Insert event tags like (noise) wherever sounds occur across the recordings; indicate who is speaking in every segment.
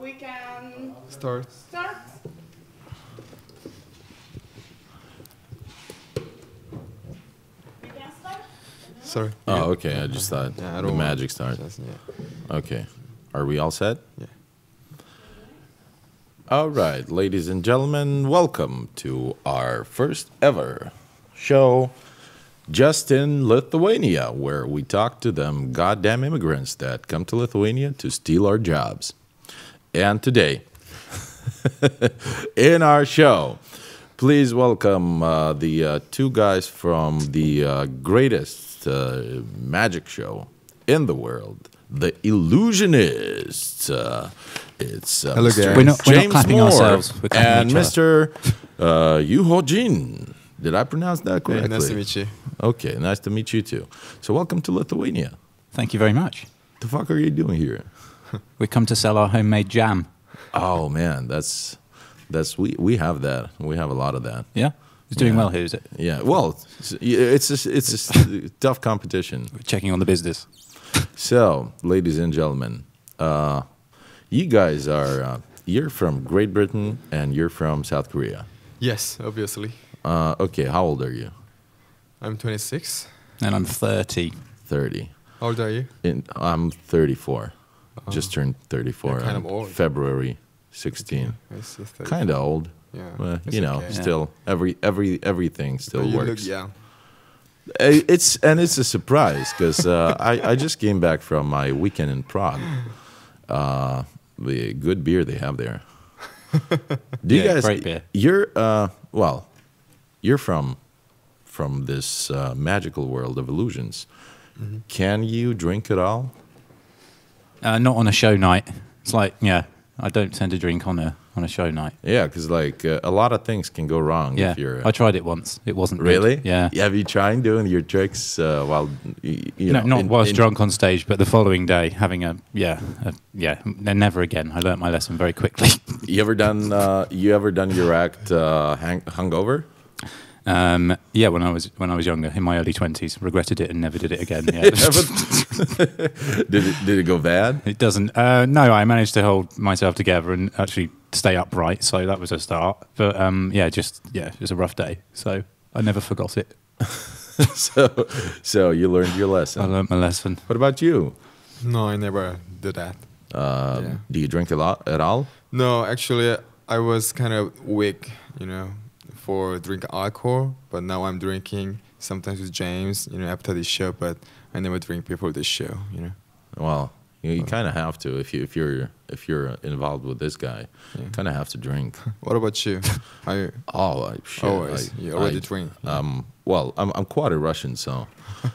Speaker 1: we can
Speaker 2: Start.
Speaker 1: start. We can start.
Speaker 2: Sorry.
Speaker 3: Oh, okay. I just thought
Speaker 2: Yeah, I
Speaker 3: the
Speaker 2: don't want-
Speaker 3: magic start.
Speaker 2: Just- yeah.
Speaker 3: Okay. Are we all set?
Speaker 2: Yeah.
Speaker 3: All right, ladies and gentlemen, welcome to our first ever show just in Lithuania, where we talk to them goddamn immigrants that come to Lithuania to steal our jobs. And today, (laughs) in our show, please welcome uh, the uh, two guys from the uh, greatest uh, magic show in the world, The Illusionists. Uh, it's uh,
Speaker 2: Hello,
Speaker 3: Mr.
Speaker 2: guys.
Speaker 4: We're not- we're not
Speaker 3: James
Speaker 4: clapping
Speaker 3: Moore
Speaker 4: ourselves, we're clapping
Speaker 3: and
Speaker 4: each
Speaker 3: Mr. Uh, Yuho Jin. Did I pronounce that
Speaker 2: Hey,
Speaker 3: correctly?
Speaker 2: nice to meet you.
Speaker 3: Okay, nice to meet you too. So, welcome to Lithuania.
Speaker 4: Thank you very much.
Speaker 3: The fuck are you doing here?
Speaker 4: We come to sell our homemade jam.
Speaker 3: Oh man, that's that's we we have that. We have a lot of that.
Speaker 4: Yeah, it's doing
Speaker 3: Yeah.
Speaker 4: well here, is it?
Speaker 3: Yeah. Well, it's it's just, it's just a tough competition.
Speaker 4: We're checking on the business.
Speaker 3: So, ladies and gentlemen, uh, you guys are uh, you're from Great Britain and you're from South Korea.
Speaker 2: Yes, obviously.
Speaker 3: Uh, okay, how old are you?
Speaker 2: I'm 26.
Speaker 4: And I'm 30.
Speaker 3: Thirty.
Speaker 2: How old are you?
Speaker 3: In, I'm 34. just turned 34.
Speaker 2: Oh. You're kind
Speaker 3: on
Speaker 2: of old.
Speaker 3: February 16.
Speaker 2: I see thirty.
Speaker 3: Kind of old.
Speaker 2: Yeah.
Speaker 3: But,
Speaker 2: It's
Speaker 3: you know,
Speaker 2: okay.
Speaker 3: still every every everything still
Speaker 2: But you
Speaker 3: works.
Speaker 2: look young.
Speaker 3: I- It's and it's a surprise because uh, (laughs) I I just came back from my weekend in Prague.
Speaker 2: (laughs)
Speaker 3: Uh, the good beer they have
Speaker 2: (laughs)
Speaker 3: there. Do you
Speaker 4: Yeah,
Speaker 3: guys?
Speaker 4: great beer.
Speaker 3: You're uh, well, you're from from this uh, magical world of illusions.
Speaker 2: Mm-hmm.
Speaker 3: Can you drink at all?
Speaker 4: Uh, not on a show night. It's like, yeah, I don't tend to drink on a on a show night.
Speaker 3: Yeah, because like uh, a lot of things can go wrong
Speaker 4: Yeah,
Speaker 3: if you're. uh,
Speaker 4: I tried it once. It wasn't good.
Speaker 3: Really?
Speaker 4: Yeah.
Speaker 3: Have you tried doing your tricks uh, while y- you
Speaker 4: No,
Speaker 3: know?
Speaker 4: not
Speaker 3: in-
Speaker 4: whilst
Speaker 3: in-
Speaker 4: drunk on stage, but the following day, having a yeah, a, yeah, n- never again. I learnt my lesson very quickly. (laughs)
Speaker 3: You ever done? Uh, you ever done your act uh, hang- hungover?
Speaker 4: um, yeah, when I was when I was younger, in my early twenties, regretted it and never did it again.
Speaker 3: (laughs)
Speaker 4: Yeah. (laughs)
Speaker 3: did it, did it go bad? (laughs)
Speaker 4: It doesn't. Uh, no, I managed to hold myself together and actually stay upright, so that was a start. But um, yeah, just yeah, it was a rough day, so I never forgot it.
Speaker 3: so, so you learned your
Speaker 4: I
Speaker 3: lesson.
Speaker 4: learnt my lesson.
Speaker 3: What about you?
Speaker 2: No, I never did that.
Speaker 3: Uh,
Speaker 2: Yeah.
Speaker 3: Do you drink a lot at all?
Speaker 2: No, actually, I was kind of weak, you know, for drinking alcohol. But now I'm drinking sometimes with James, you know, after this show. But I never drink before this show, you know.
Speaker 3: Well, you, you kind of have to if you if you're if you're involved with this guy, you kind of have to drink.
Speaker 2: What about
Speaker 3: (laughs)
Speaker 2: you? Are you
Speaker 3: Oh, I, shit,
Speaker 2: Always.
Speaker 3: I-
Speaker 2: You already
Speaker 3: I- (laughs)
Speaker 2: drink.
Speaker 3: Um, well, I'm I'm quite a Russian, so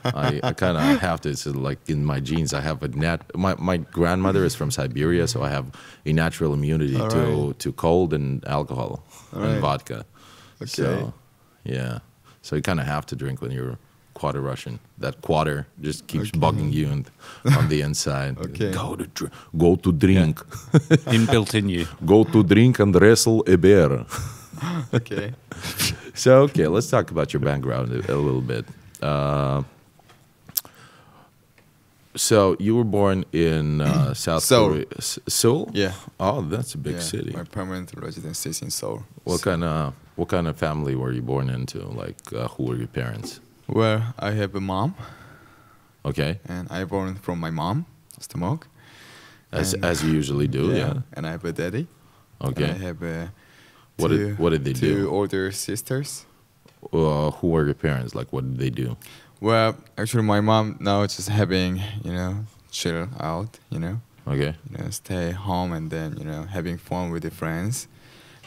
Speaker 3: I, I kind of (laughs) have to. It's like in my genes, I have a nat. My my grandmother is from Siberia, so I have a natural immunity
Speaker 2: All
Speaker 3: to
Speaker 2: right.
Speaker 3: to cold and alcohol
Speaker 2: All
Speaker 3: and
Speaker 2: right.
Speaker 3: vodka.
Speaker 2: Okay.
Speaker 3: So, yeah. So you kind of have to drink when you're quarter Russian. That quarter just keeps bugging you and on the inside.
Speaker 2: (laughs) Okay.
Speaker 3: Go to dr- go to drink,
Speaker 4: Inbuilt in you.
Speaker 3: go to drink and wrestle a bear.
Speaker 2: okay?
Speaker 3: So okay, let's talk about your background a, a little bit. Uh, so you were born
Speaker 2: (clears throat)
Speaker 3: in uh, South
Speaker 2: Seoul.
Speaker 3: Korea, S- Seoul.
Speaker 2: Yeah.
Speaker 3: Oh, that's a big
Speaker 2: Yeah,
Speaker 3: city.
Speaker 2: My permanent residency is in Seoul.
Speaker 3: What kind of what kind of family were you born into? Like, uh, who were your parents?
Speaker 2: Well, I have a mom,
Speaker 3: Okay,
Speaker 2: and I born from my mom, stomach.
Speaker 3: as
Speaker 2: And-
Speaker 3: as you usually do. Yeah.
Speaker 2: And I have a daddy.
Speaker 3: Okay.
Speaker 2: And I have a.
Speaker 3: What did- what did they
Speaker 2: two
Speaker 3: do?
Speaker 2: older sisters.
Speaker 3: Uh, who were your parents? Like, what did they do?
Speaker 2: Well, actually, my mom now just having you know chill out, you know,
Speaker 3: Okay.
Speaker 2: you know, stay home and then you know having fun with the friends.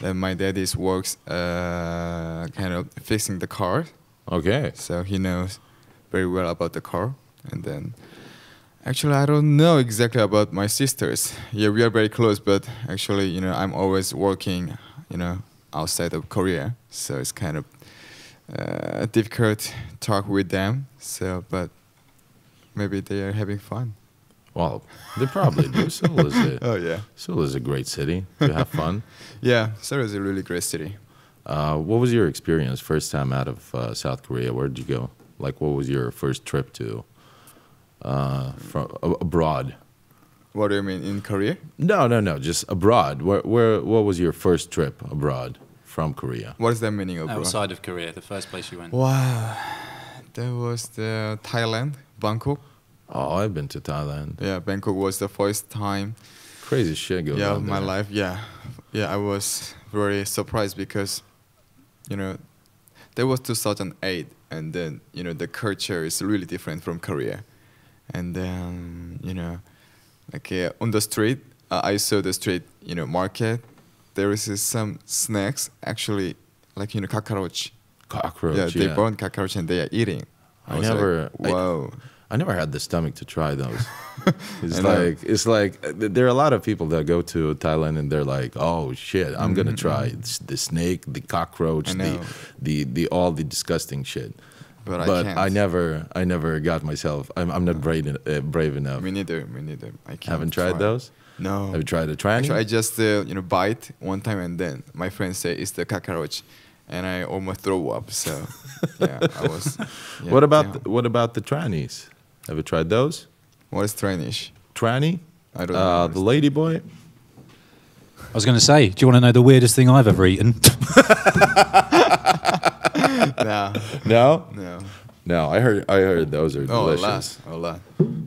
Speaker 2: Then my daddy is works uh, kind of fixing the car,
Speaker 3: Okay.
Speaker 2: so he knows very well about the car. And then, actually, I don't know exactly about my sisters. Yeah, we are very close, but actually, you know, I'm always working, you know, outside of Korea, so it's kind of uh, difficult talk with them. So, but maybe they are having fun.
Speaker 3: Well, they probably do. Seoul is a,
Speaker 2: Oh, yeah,
Speaker 3: Seoul is a great city to have fun.
Speaker 2: yeah. Seoul is a really great city.
Speaker 3: Uh, what was your experience first time out of uh, South Korea? Where did you go? Like, what was your first trip to uh, from abroad?
Speaker 2: What do you mean in Korea?
Speaker 3: No, no, no. Just abroad. Where, where, what was your first trip abroad from Korea?
Speaker 2: What is the meaning of
Speaker 4: (laughs) Outside of Korea, the first place you went.
Speaker 2: Wow, that was the Thailand, Bangkok.
Speaker 3: Oh, I've been to Thailand.
Speaker 2: Yeah, Bangkok was the first time
Speaker 3: Crazy shit goes
Speaker 2: yeah,
Speaker 3: on
Speaker 2: of my
Speaker 3: there.
Speaker 2: life. Yeah, yeah, I was very surprised because, you know, that was 2008, and then you know the culture is really different from Korea, and then you know, like uh, on the street, uh, I saw the street, you know, market. There is uh, some snacks actually, like you know, cockroach.
Speaker 3: Cockroach.
Speaker 2: yeah,
Speaker 3: Yeah,
Speaker 2: they burn cockroach and they are eating.
Speaker 3: I
Speaker 2: was
Speaker 3: never- I-
Speaker 2: Like, wow.
Speaker 3: I never had the stomach to try
Speaker 2: (laughs)
Speaker 3: those. It's
Speaker 2: I know.
Speaker 3: like it's like uh, there are a lot of people that go to Thailand and they're like, "Oh shit, I'm gonna try s- the snake, the cockroach,
Speaker 2: Mm-hmm, I
Speaker 3: the,
Speaker 2: know.
Speaker 3: the the all the disgusting shit."
Speaker 2: But I can't.
Speaker 3: never, I never got myself. I'm, I'm not brave, en- uh, brave enough.
Speaker 2: me neither. Me neither. I can't
Speaker 3: Haven't tried
Speaker 2: try.
Speaker 3: those.
Speaker 2: No.
Speaker 3: Have you tried a tranny?
Speaker 2: Actually, I just uh, you know bite one time and then my friend say it's the cockroach, and I almost throw up.
Speaker 3: (laughs)
Speaker 2: So yeah, I was. yeah,
Speaker 3: what about
Speaker 2: yeah.
Speaker 3: the, what about the trannies? Have you tried those?
Speaker 2: what is
Speaker 3: (laughs)
Speaker 2: Tranish?
Speaker 3: Tranny?
Speaker 2: I don't
Speaker 3: Uh, the
Speaker 2: know.
Speaker 3: ladyboy?
Speaker 4: I was going to say, do you want to know the weirdest thing I've ever eaten? (laughs)
Speaker 2: no,
Speaker 3: No,
Speaker 2: no.
Speaker 3: no. I heard I heard those are
Speaker 2: Oh, a lot,
Speaker 3: delicious.
Speaker 2: a lot.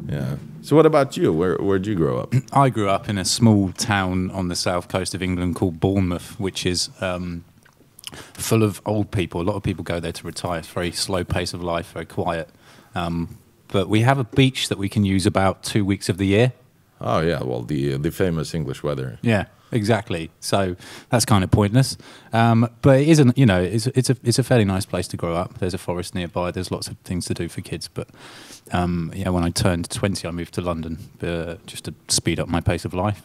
Speaker 3: Yeah. So what about you? Where where'd you grow
Speaker 2: (clears throat)
Speaker 3: up?
Speaker 4: I grew up in a small town on the south coast of England called Bournemouth, which is um, full of old people. A lot of people go there to retire. It's a very slow pace of life, very quiet. Um, but we have a beach that we can use about two weeks of the year.
Speaker 3: Oh yeah, well the the famous English weather.
Speaker 4: Yeah, exactly. So that's kind of pointless. Um, but it isn't, you know, it's, it's a it's a fairly nice place to grow up. There's a forest nearby. There's lots of things to do for kids. But um, yeah, when I turned 20, I moved to London uh, just to speed up my pace of life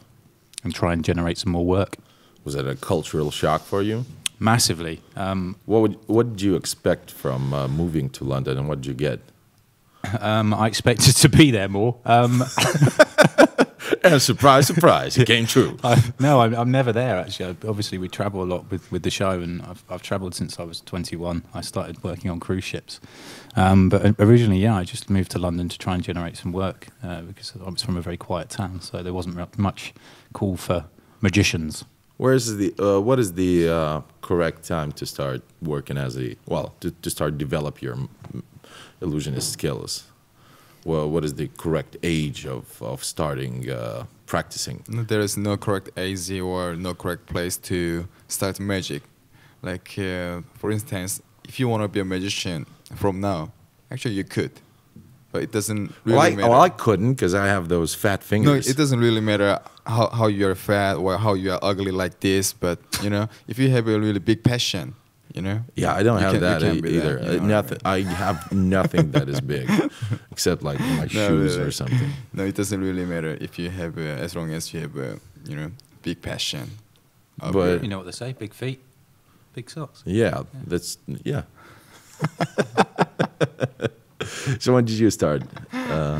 Speaker 4: and try and generate some more work.
Speaker 3: Was that a cultural shock for you?
Speaker 4: Massively. Um,
Speaker 3: What would what did you expect from uh, moving to London, and what did you
Speaker 2: (laughs)
Speaker 3: get?
Speaker 4: um, I expected (laughs) to be there more. Um,
Speaker 3: And surprise, surprise, it came
Speaker 2: (laughs)
Speaker 3: true.
Speaker 4: I, no, I'm, I'm never there actually. I- Obviously, we travel a lot with, with the show, and I've, I've traveled since I was 21. I started working on cruise ships. Um, but originally, yeah, I just moved to London to try and generate some work uh, because I was from a very quiet town, so there wasn't mu- much call for magicians.
Speaker 3: Where is the uh, what is the uh, correct time to start working as a well to, to start develop your mm, illusionist skills? Well, what is the correct age of of starting uh, practicing?
Speaker 2: No, there is no correct AZ or no correct place to start magic. Like uh, for instance, if you want to be a magician from now, actually you could, but it doesn't really
Speaker 3: well, I,
Speaker 2: matter.
Speaker 3: well, I couldn't because I have those fat
Speaker 2: No,
Speaker 3: fingers.
Speaker 2: it doesn't really matter how, how you're fat or how you are ugly like this, but you know, if you have a really big passion, you know.
Speaker 3: Yeah, I don't
Speaker 2: you
Speaker 3: have
Speaker 2: can- you
Speaker 3: that
Speaker 2: can
Speaker 3: e-
Speaker 2: be
Speaker 3: either.
Speaker 2: that, you know
Speaker 3: Uh,
Speaker 2: what I
Speaker 3: nothing. I, have nothing that is
Speaker 2: (laughs)
Speaker 3: big, except like my
Speaker 2: No,
Speaker 3: shoes
Speaker 2: really.
Speaker 3: or something.
Speaker 2: No, it doesn't really matter if you have uh, as long as you have uh, you know big passion. of
Speaker 3: But-
Speaker 2: your-
Speaker 4: You know what they say: big feet, big socks.
Speaker 3: Yeah, that's
Speaker 2: (laughs)
Speaker 3: yeah. (laughs) so when did you start? Uh,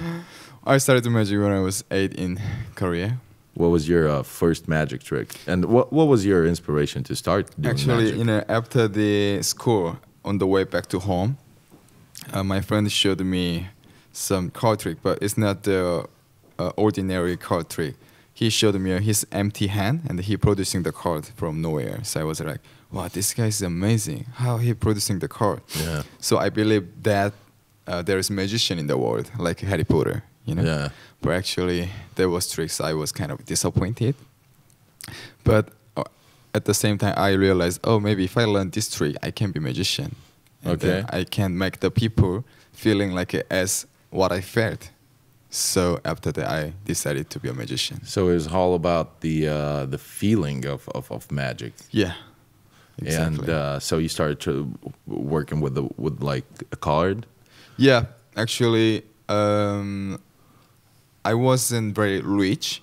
Speaker 2: I started magic when I was eight in Korea.
Speaker 3: what was your uh, first magic trick, and what what was your inspiration to start doing
Speaker 2: Actually,
Speaker 3: magic?
Speaker 2: you know, after the school, on the way back to home, uh, my friend showed me some card trick, but it's not the uh, ordinary card trick. He showed me his empty hand, and he producing the card from nowhere. So I was like, "Wow, this guy is amazing! How he producing the card?"
Speaker 3: Yeah.
Speaker 2: So I believe that uh, there is magician in the world, like Harry Potter. You know.
Speaker 3: Yeah.
Speaker 2: But actually, there was tricks. I was kind of disappointed. But uh, at the same time, I realized, oh, maybe if I learn this trick, I can be magician. And then
Speaker 3: Okay.
Speaker 2: I can make the people feeling like uh, as what I felt. So after that, I decided to be a magician.
Speaker 3: so it was all about the uh, the feeling of of, of magic,
Speaker 2: Yeah. Exactly.
Speaker 3: and uh, so you started to working with the with like a card.
Speaker 2: yeah, actually, um, I wasn't very rich,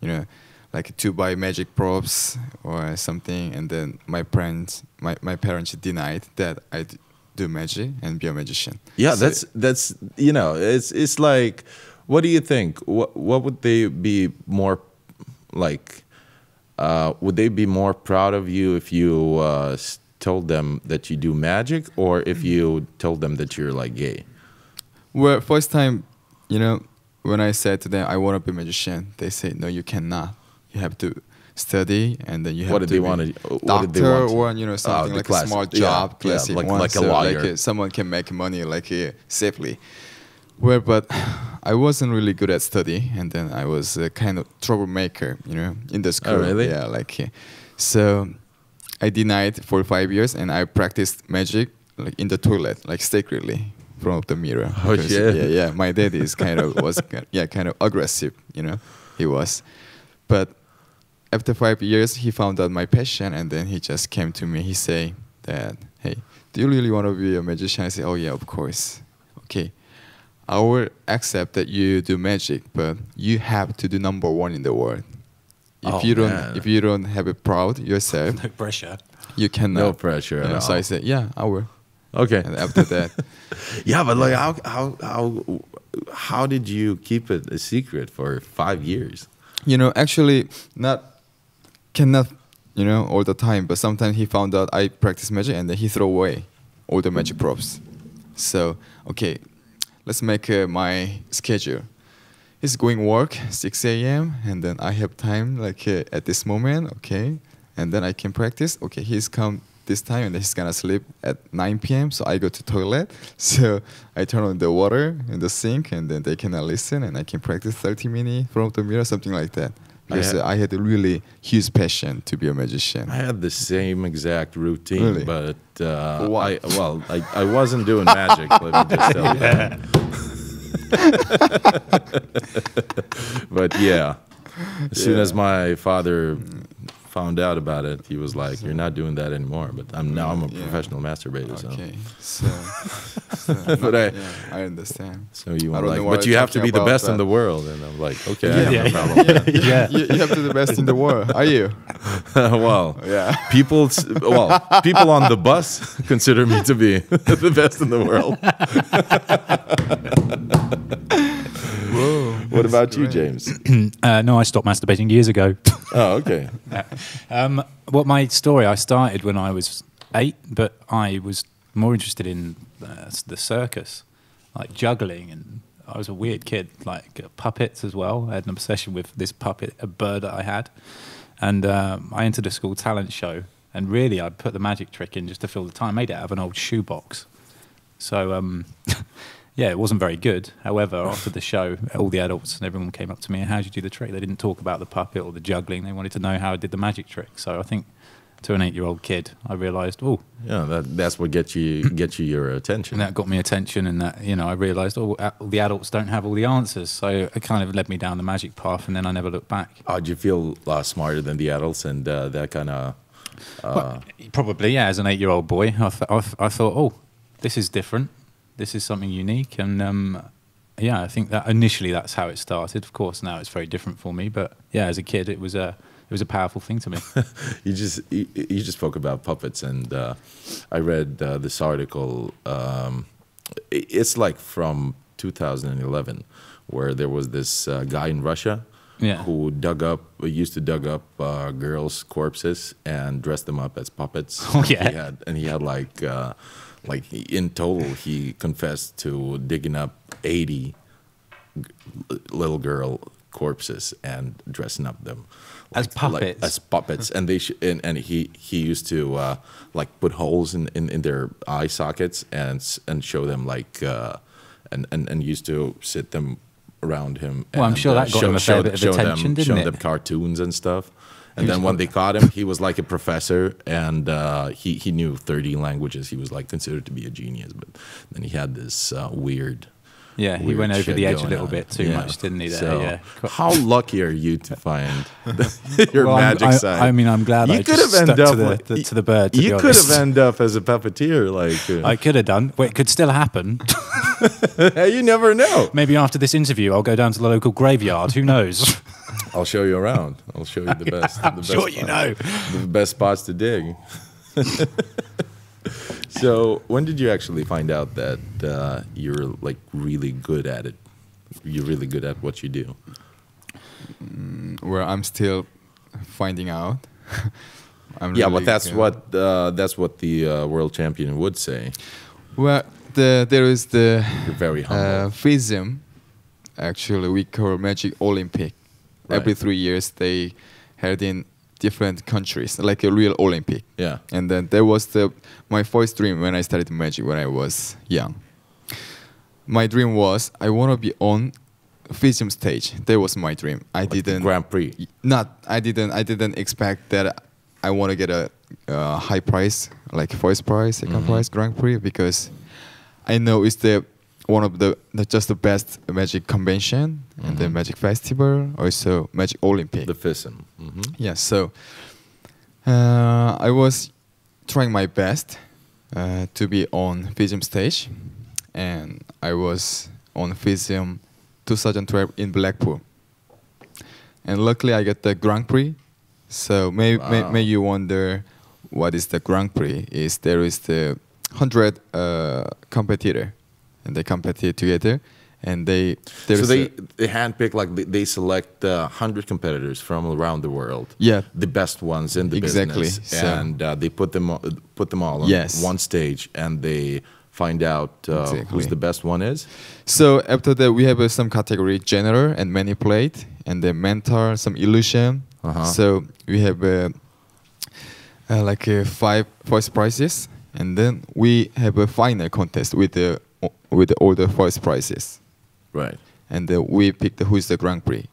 Speaker 2: you know, like to buy magic props or something. And then my parents, my, my parents denied that I d- do magic and be a magician.
Speaker 3: Yeah,
Speaker 2: So-
Speaker 3: that's that's you know, it's it's like, what do you think? What what would they be more like? Uh, would they be more proud of you if you uh, s- told them that you do magic, or if you told them that you're like gay?
Speaker 2: Well, first time, you know, when I said to them I want to be a magician, they said no, you cannot. You have to study, and then you have to
Speaker 3: What did they
Speaker 2: be
Speaker 3: want to- what did they
Speaker 2: doctor
Speaker 3: want to-
Speaker 2: or you know something
Speaker 3: the
Speaker 2: like a
Speaker 3: class-
Speaker 2: smart
Speaker 3: yeah,
Speaker 2: job,
Speaker 3: yeah,
Speaker 2: classic
Speaker 3: like-
Speaker 2: one,
Speaker 3: like a
Speaker 2: so
Speaker 3: lawyer.
Speaker 2: uh, someone can make money like uh, safely. Well, but (sighs) I wasn't really good at study, and then I was a kind of troublemaker, you know, in the school.
Speaker 3: Oh, really?
Speaker 2: Yeah, like uh, so. I denied for five years, and I practiced magic like in the toilet, like secretly from the mirror.
Speaker 3: Oh,
Speaker 2: Because,
Speaker 3: yeah.
Speaker 2: yeah, yeah. My daddy is kind of
Speaker 3: (laughs)
Speaker 2: was ki- yeah, kind of aggressive, you know, he was. But after five years, he found out my passion, and then he just came to me. He say that, hey, do you really want to be a magician? I say, oh yeah, of course. Okay, I will accept that you do magic, but you have to do number one in the world. If
Speaker 3: Oh,
Speaker 2: you don't,
Speaker 3: man.
Speaker 2: if you don't have it proud yourself,
Speaker 4: No pressure.
Speaker 2: you cannot.
Speaker 3: No pressure at
Speaker 2: Yeah, So
Speaker 3: all.
Speaker 2: I said, yeah, I will.
Speaker 3: Okay.
Speaker 2: And after that,
Speaker 3: Yeah, but like, how how how how did you keep it a secret for five years?
Speaker 2: you know, actually, not cannot, you know, all the time. But sometimes he found out I practice magic, and then he throw away all the magic props. So okay, let's make uh, my schedule. He's going work 6 a.m. and then I have time like uh, at this moment, okay, and then I can practice. Okay, he's come this time and he's gonna sleep at 9 p.m. So I go to toilet. (laughs) So I turn on the water in the sink and then they cannot listen and I can practice 30 minutes from the mirror, something like that. Because
Speaker 3: had-
Speaker 2: uh, I had a really huge passion to be a magician.
Speaker 3: I had the same exact routine,
Speaker 2: Really?
Speaker 3: but uh,
Speaker 2: Why?
Speaker 3: I, well, I, I wasn't doing magic. let me just tell you
Speaker 2: (laughs)
Speaker 3: that. (laughs) but yeah, as soon as my father found out about it, he was like, "You're not doing that anymore." But I'm now I'm a
Speaker 2: Yeah.
Speaker 3: professional masturbator.
Speaker 2: Okay, so, so
Speaker 3: But I-
Speaker 2: yeah, I understand.
Speaker 3: So, so
Speaker 2: I
Speaker 3: you were
Speaker 2: don't
Speaker 3: like,
Speaker 2: know what
Speaker 3: but
Speaker 2: I'm
Speaker 3: you have to
Speaker 2: talking
Speaker 3: be the
Speaker 2: about,
Speaker 3: best in
Speaker 2: but-
Speaker 3: the world, and I'm like, okay, I have
Speaker 2: (laughs)
Speaker 4: Yeah.
Speaker 3: no problem. with that."
Speaker 4: Yeah.
Speaker 2: you, you have to be the best in the world. Are you?
Speaker 3: (laughs) well,
Speaker 2: Yeah.
Speaker 3: people, s- well, people on the bus (laughs) consider me to be (laughs) the best in the world.
Speaker 2: Whoa.
Speaker 3: What about you, James?
Speaker 4: Uh, no, I stopped masturbating years ago.
Speaker 3: (laughs)
Speaker 4: (laughs)
Speaker 3: Oh, okay.
Speaker 4: um, what my story? I started when I was eight, but I was more interested in uh, the circus, like juggling, and I was a weird kid, like uh, puppets as well. I had an obsession with this puppet, a bird that I had, and um, I entered a school talent show. And really, I put the magic trick in just to fill the time. Made it out of an old shoebox. So, um, (laughs) yeah, it wasn't very good. However, after the show, all the adults and everyone came up to me and how did you do the trick? They didn't talk about the puppet or the juggling. They wanted to know how I did the magic trick. So I think to an eight-year-old kid, I realised, oh,
Speaker 3: Yeah, that, that's what gets you get you your attention.
Speaker 4: and that got me attention. And that you know, I realised, oh, a- the adults don't have all the answers. So it kind of led me down the magic path, and then I never looked back.
Speaker 3: How'd you feel uh, smarter than the adults and uh, that kind of?
Speaker 4: Probably, yeah. As an eight-year-old boy, I, th- I, th- I thought, oh, this is different. This is something unique, and um, yeah, I think that initially that's how it started. Of course, now it's very different for me, but yeah, as a kid, it was a it was a powerful thing
Speaker 3: (laughs)
Speaker 4: to me.
Speaker 3: You just you, you just spoke about puppets, and uh, I read uh, this article. Um, i- it's like from 2011, where there was this uh, guy in Russia
Speaker 4: Yeah.
Speaker 3: who dug up used to dug up uh, girls' corpses and dressed them up as puppets.
Speaker 4: (laughs) Oh, yeah.
Speaker 3: He had, and he had like uh, like he- in total he confessed to digging up 80 g- little girl corpses and dressing up them
Speaker 4: As puppets.
Speaker 3: as puppets and they sh- and, and he he used to uh like put holes in in, in their eye sockets and s- and show them like uh and and, and used to sit them around him
Speaker 4: Well, I'm
Speaker 3: and,
Speaker 4: sure
Speaker 3: uh,
Speaker 4: that got him a fair bit of
Speaker 3: show
Speaker 4: attention,
Speaker 3: them,
Speaker 4: didn't
Speaker 3: show
Speaker 4: it?
Speaker 3: them cartoons and stuff and
Speaker 4: He was
Speaker 3: then when they caught him he was like a professor and uh he he knew 30 languages he was like considered to be a genius but then he had this uh, weird
Speaker 4: Yeah, he
Speaker 3: weird
Speaker 4: went over
Speaker 3: shit
Speaker 4: the edge a
Speaker 3: going
Speaker 4: little
Speaker 3: on.
Speaker 4: bit too
Speaker 3: Yeah.
Speaker 4: much, didn't he? There,
Speaker 3: So,
Speaker 4: yeah. Qu-
Speaker 3: (laughs) How lucky are you to find (laughs)
Speaker 4: (laughs)
Speaker 3: your
Speaker 4: Well, I'm-
Speaker 3: magic
Speaker 4: I-
Speaker 3: side?
Speaker 4: I mean, I'm glad I just stuck to the-
Speaker 3: like-
Speaker 4: the- to the bird, to
Speaker 3: you
Speaker 4: be
Speaker 3: could have
Speaker 4: honest.
Speaker 3: ended up as a puppeteer,
Speaker 4: (laughs)
Speaker 3: like uh,
Speaker 4: I could have done. Well, it could still
Speaker 3: (laughs)
Speaker 4: happen.
Speaker 3: you never
Speaker 4: (laughs)
Speaker 3: know.
Speaker 4: Maybe after this interview, I'll go down to the local graveyard. Who knows?
Speaker 3: (laughs) I'll show you around. I'll show
Speaker 4: (laughs)
Speaker 3: you the best. the
Speaker 4: I'm
Speaker 3: best
Speaker 4: sure you
Speaker 3: spots-
Speaker 4: know.
Speaker 3: the best spots to dig. (laughs) so, when did you actually find out that uh, you're like really good at it? You're really good at what you do.
Speaker 2: Where I'm still finding out. (laughs) I'm
Speaker 3: Yeah,
Speaker 2: really
Speaker 3: but that's
Speaker 2: good.
Speaker 3: what uh, that's what the uh, world champion would say.
Speaker 2: Well, the, there is the
Speaker 3: You're very humble.
Speaker 2: uh, FISM, actually we cover Magic Olympic.
Speaker 3: Right.
Speaker 2: Every three years they had in different countries, like a real Olympic.
Speaker 3: Yeah.
Speaker 2: And then that was the my first dream when I started Magic when I was young. My dream was I want to be on Fisium stage. That was my dream. I
Speaker 3: Like the
Speaker 2: didn't
Speaker 3: Grand Prix.
Speaker 2: not I didn't I didn't expect that I want to get a, uh high price like first prize, 2nd prize, Grand Prix because I know it's the one of the not just the best Magic convention and the Magic Festival, also Magic Olympic.
Speaker 3: The FISM. hmm
Speaker 2: Yeah, so uh, I was trying my best uh, to be on Visium stage, and I was on Visium 2012 in Blackpool. And luckily, I got the Grand Prix. So may, may,
Speaker 3: Wow.
Speaker 2: may you wonder what is the Grand Prix? Is there is the hundred uh, competitor, and they compete together, and they there
Speaker 3: So
Speaker 2: is
Speaker 3: they,
Speaker 2: a-
Speaker 3: they handpick, like, they, they select uh, 100 competitors from around the world.
Speaker 2: yeah
Speaker 3: The best ones in the
Speaker 2: Exactly,
Speaker 3: business,
Speaker 2: so-
Speaker 3: and uh, they put them o- put them all on
Speaker 2: Yes.
Speaker 3: one stage, and they find out uh,
Speaker 2: Exactly.
Speaker 3: who's the best one is.
Speaker 2: So after that, we have uh, some category general and manipulate, and then mentor, some illusion.
Speaker 3: Uh-huh.
Speaker 2: So we have uh, uh, like uh, five first prizes, and then we have a final contest with the with all the first prizes,
Speaker 3: Right.
Speaker 2: and uh, we picked who is the Grand Prix.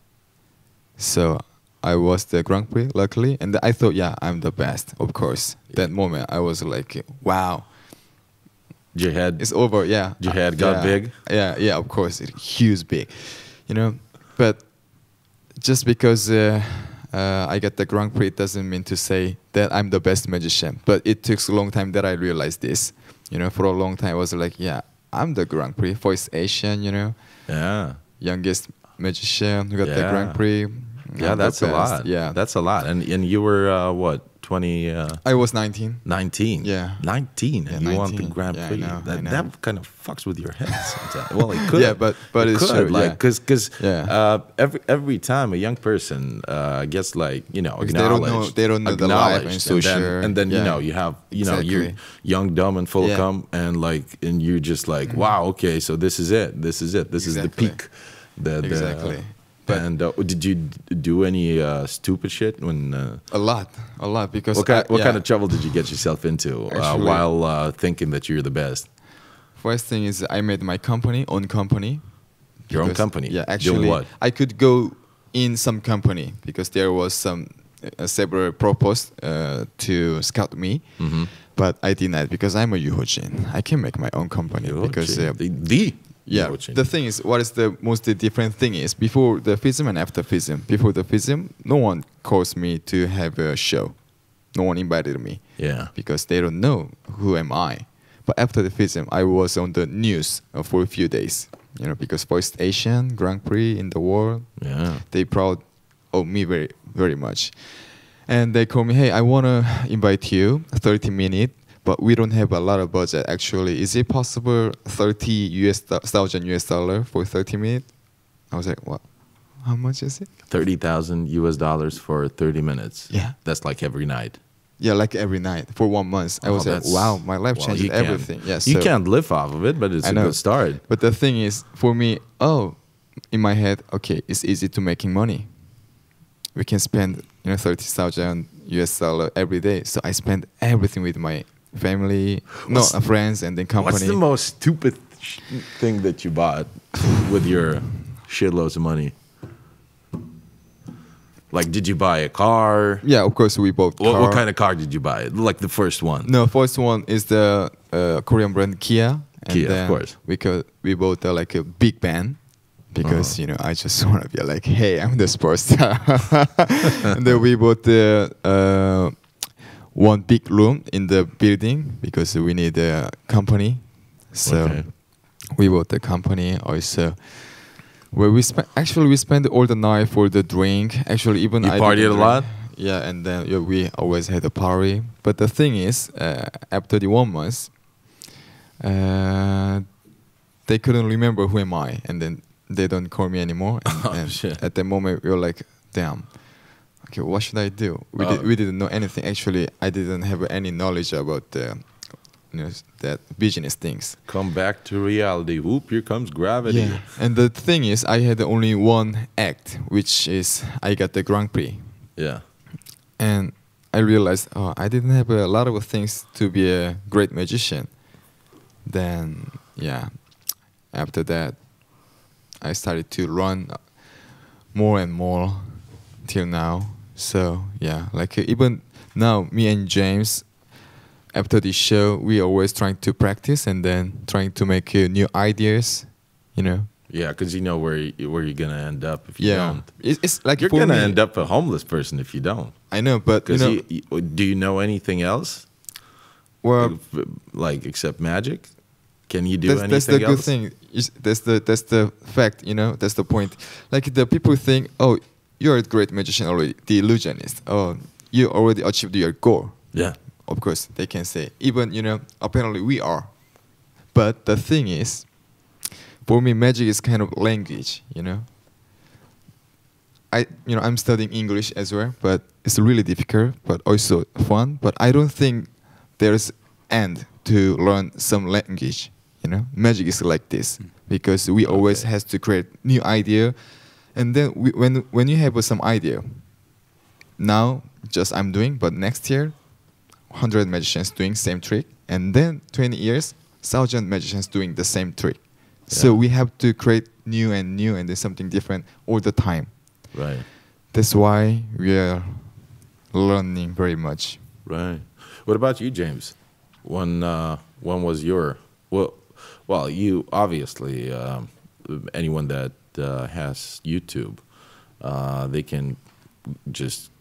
Speaker 2: So I was the Grand Prix, luckily, and I thought, yeah, I'm the best, of course. That moment, I was like, wow,
Speaker 3: You had
Speaker 2: it's over. Yeah, Uh,
Speaker 3: Your head got
Speaker 2: Yeah.
Speaker 3: big?
Speaker 2: Yeah, yeah, of course, it huge big, you know. But just because uh, uh, I got the Grand Prix doesn't mean to say that I'm the best magician. But it took a long time that I realized this. You know, for a long time I was like, yeah, I'm the Grand Prix, first Asian, you know,
Speaker 3: yeah.
Speaker 2: youngest magician who got the
Speaker 3: Yeah.
Speaker 2: Grand Prix.
Speaker 3: Yeah,
Speaker 2: I'm the
Speaker 3: that's a
Speaker 2: best.
Speaker 3: lot.
Speaker 2: Yeah,
Speaker 3: that's a lot. And and you were uh, what twenty uh,
Speaker 2: I was 19.
Speaker 3: nineteen?
Speaker 2: Yeah.
Speaker 3: nineteen. And
Speaker 2: Yeah,
Speaker 3: you won the
Speaker 2: 19.
Speaker 3: Grand
Speaker 2: Yeah, I
Speaker 3: Prix.
Speaker 2: know, I
Speaker 3: that
Speaker 2: know.
Speaker 3: that kind of fucks with your head sometimes. well,
Speaker 2: (laughs)
Speaker 3: it could.
Speaker 2: Yeah, but- but it's
Speaker 3: could,
Speaker 2: true,
Speaker 3: Like,
Speaker 2: yeah.
Speaker 3: cause 'cause,
Speaker 2: Yeah.
Speaker 3: uh, every every time a young person uh, gets like you know
Speaker 2: Because they don't know-
Speaker 3: acknowledged,
Speaker 2: they don't know the life
Speaker 3: acknowledged,
Speaker 2: and
Speaker 3: and then,
Speaker 2: social,
Speaker 3: and then you
Speaker 2: yeah.
Speaker 3: know you have you know you're
Speaker 2: Exactly.
Speaker 3: young, dumb, and full
Speaker 2: Yeah. Mm-hmm.
Speaker 3: of cum, and like and you're just like wow, okay, so this is it, this is it, this
Speaker 2: Exactly.
Speaker 3: is the peak. The, the-
Speaker 2: Exactly. But-
Speaker 3: and uh, did you d- do any uh, stupid shit when? Uh,
Speaker 2: A lot, a lot because
Speaker 3: what kind,
Speaker 2: I-
Speaker 3: what kind
Speaker 2: yeah.
Speaker 3: of trouble did you get yourself into uh,
Speaker 2: Actually-
Speaker 3: while uh, thinking that you're the best?
Speaker 2: First thing is I made my company, own company.
Speaker 3: Your own
Speaker 2: Because-
Speaker 3: company?
Speaker 2: Yeah,
Speaker 3: Doing
Speaker 2: actually,
Speaker 3: what?
Speaker 2: I could go in some company because there was some uh, several proposed uh, to scout me,
Speaker 3: Mm-hmm.
Speaker 2: but I denied because I'm a Yuhojin. I can make my own company because
Speaker 3: Yojin.
Speaker 2: uh,
Speaker 3: the, the
Speaker 2: yeah.
Speaker 3: Yojin.
Speaker 2: The thing is, what is the most different thing is before the FISM and after FISM. Before the FISM, no one calls me to have a show. No one invited me
Speaker 3: yeah,
Speaker 2: because they don't know who am I. But after the FISM, I was on the news uh, for a few days. You know, because first Asian Grand Prix in the world,
Speaker 3: yeah,
Speaker 2: they proud of me very very much. And they call me, hey, I wanna invite you, 30 minute, but we don't have a lot of budget. Actually, is it possible 30 US do- thousand US dollar for 30 minute? I was like, what? How much is it?
Speaker 3: thirty thousand U.S. dollars for thirty minutes.
Speaker 2: Yeah.
Speaker 3: that's like every night.
Speaker 2: Yeah, like every night for one month. I
Speaker 3: Oh,
Speaker 2: was like,
Speaker 3: that's-
Speaker 2: wow, my life
Speaker 3: well,
Speaker 2: changed
Speaker 3: you can't-
Speaker 2: everything. Yeah,
Speaker 3: you
Speaker 2: so-
Speaker 3: can't live off of it, but it's
Speaker 2: I
Speaker 3: a
Speaker 2: know.
Speaker 3: good start.
Speaker 2: But the thing is, for me, oh, in my head, okay, it's easy to making money. We can spend you know thirty thousand US dollar every day. So I spend everything with my family,
Speaker 3: What's-
Speaker 2: no uh, friends, and then company.
Speaker 3: What's the most stupid sh- thing that you bought with your shitloads of money? Like, did you buy a car?
Speaker 2: yeah, of course we bought.
Speaker 3: What,
Speaker 2: car.
Speaker 3: what kind of car did you buy? Like the first one.
Speaker 2: No, first one is the uh, Korean brand Kia. And
Speaker 3: Kia, of
Speaker 2: then
Speaker 3: course.
Speaker 2: We could, we bought uh, like a big band because
Speaker 3: Uh-huh.
Speaker 2: you know I just (laughs) want to be like, hey, I'm the sports star. (laughs) and then we bought the uh, one big room in the building because we need a company. So
Speaker 3: Okay.
Speaker 2: we bought the company also. Where we spent actually we spent all the night for the drink. Actually, even
Speaker 3: You
Speaker 2: I
Speaker 3: partied
Speaker 2: didn't
Speaker 3: a lot?
Speaker 2: drink. Yeah, and then yeah, we always had a party. But the thing is, uh, after the one month, uh, they couldn't remember who am I, and then they don't call me
Speaker 3: (laughs)
Speaker 2: anymore. And,
Speaker 3: Oh,
Speaker 2: and
Speaker 3: shit.
Speaker 2: At the moment, we were like, damn. Okay, what should I do? We,
Speaker 3: Oh.
Speaker 2: did, we didn't know anything. Actually, I didn't have any knowledge about the you know, that business things.
Speaker 3: Come back to reality. Whoop, here comes gravity.
Speaker 2: And the thing is, I had only one act, which is I got the Grand Prix,
Speaker 3: Yeah.
Speaker 2: and I realized oh, I didn't have a lot of things to be a great magician. Then yeah, after that, I started to run more and more till now. So yeah, like uh, even now, me and James, after the show, we always trying to practice and then trying to make uh, new ideas. You know,
Speaker 3: Yeah, because you know where you, where you're gonna end up if you
Speaker 2: yeah,
Speaker 3: don't.
Speaker 2: it's, it's like
Speaker 3: You're
Speaker 2: for
Speaker 3: gonna
Speaker 2: me-
Speaker 3: end up a homeless person if you don't.
Speaker 2: I know, but you
Speaker 3: Because
Speaker 2: know,
Speaker 3: do you know anything else?
Speaker 2: well,
Speaker 3: Like, like except magic? Can you do
Speaker 2: that's,
Speaker 3: anything
Speaker 2: that's the
Speaker 3: else?
Speaker 2: good thing. Is- That's the that's the fact. You know, that's the point. Like the people think, oh, you're a great magician already, the illusionist. Oh, you already achieved your goal.
Speaker 3: Yeah.
Speaker 2: Of course, they can say. Even you know, apparently we are. But the thing is, for me, magic is kind of language. You know. I you know I'm studying English as well, but it's really difficult, but also fun. But I don't think there's end to learn some language. You know, magic is like this because we always has to create new idea, and then we, when when you have some idea, now just I'm doing, but next year, hundred magicians doing same trick, and then twenty years thousand magicians doing the same trick. So
Speaker 3: Yeah.
Speaker 2: we have to create new and new and then something different all the time.
Speaker 3: Right.
Speaker 2: That's why we are learning very much.
Speaker 3: Right. What about you, James? When uh, when was your well? Well, you obviously um, anyone that uh, has YouTube, uh, they can just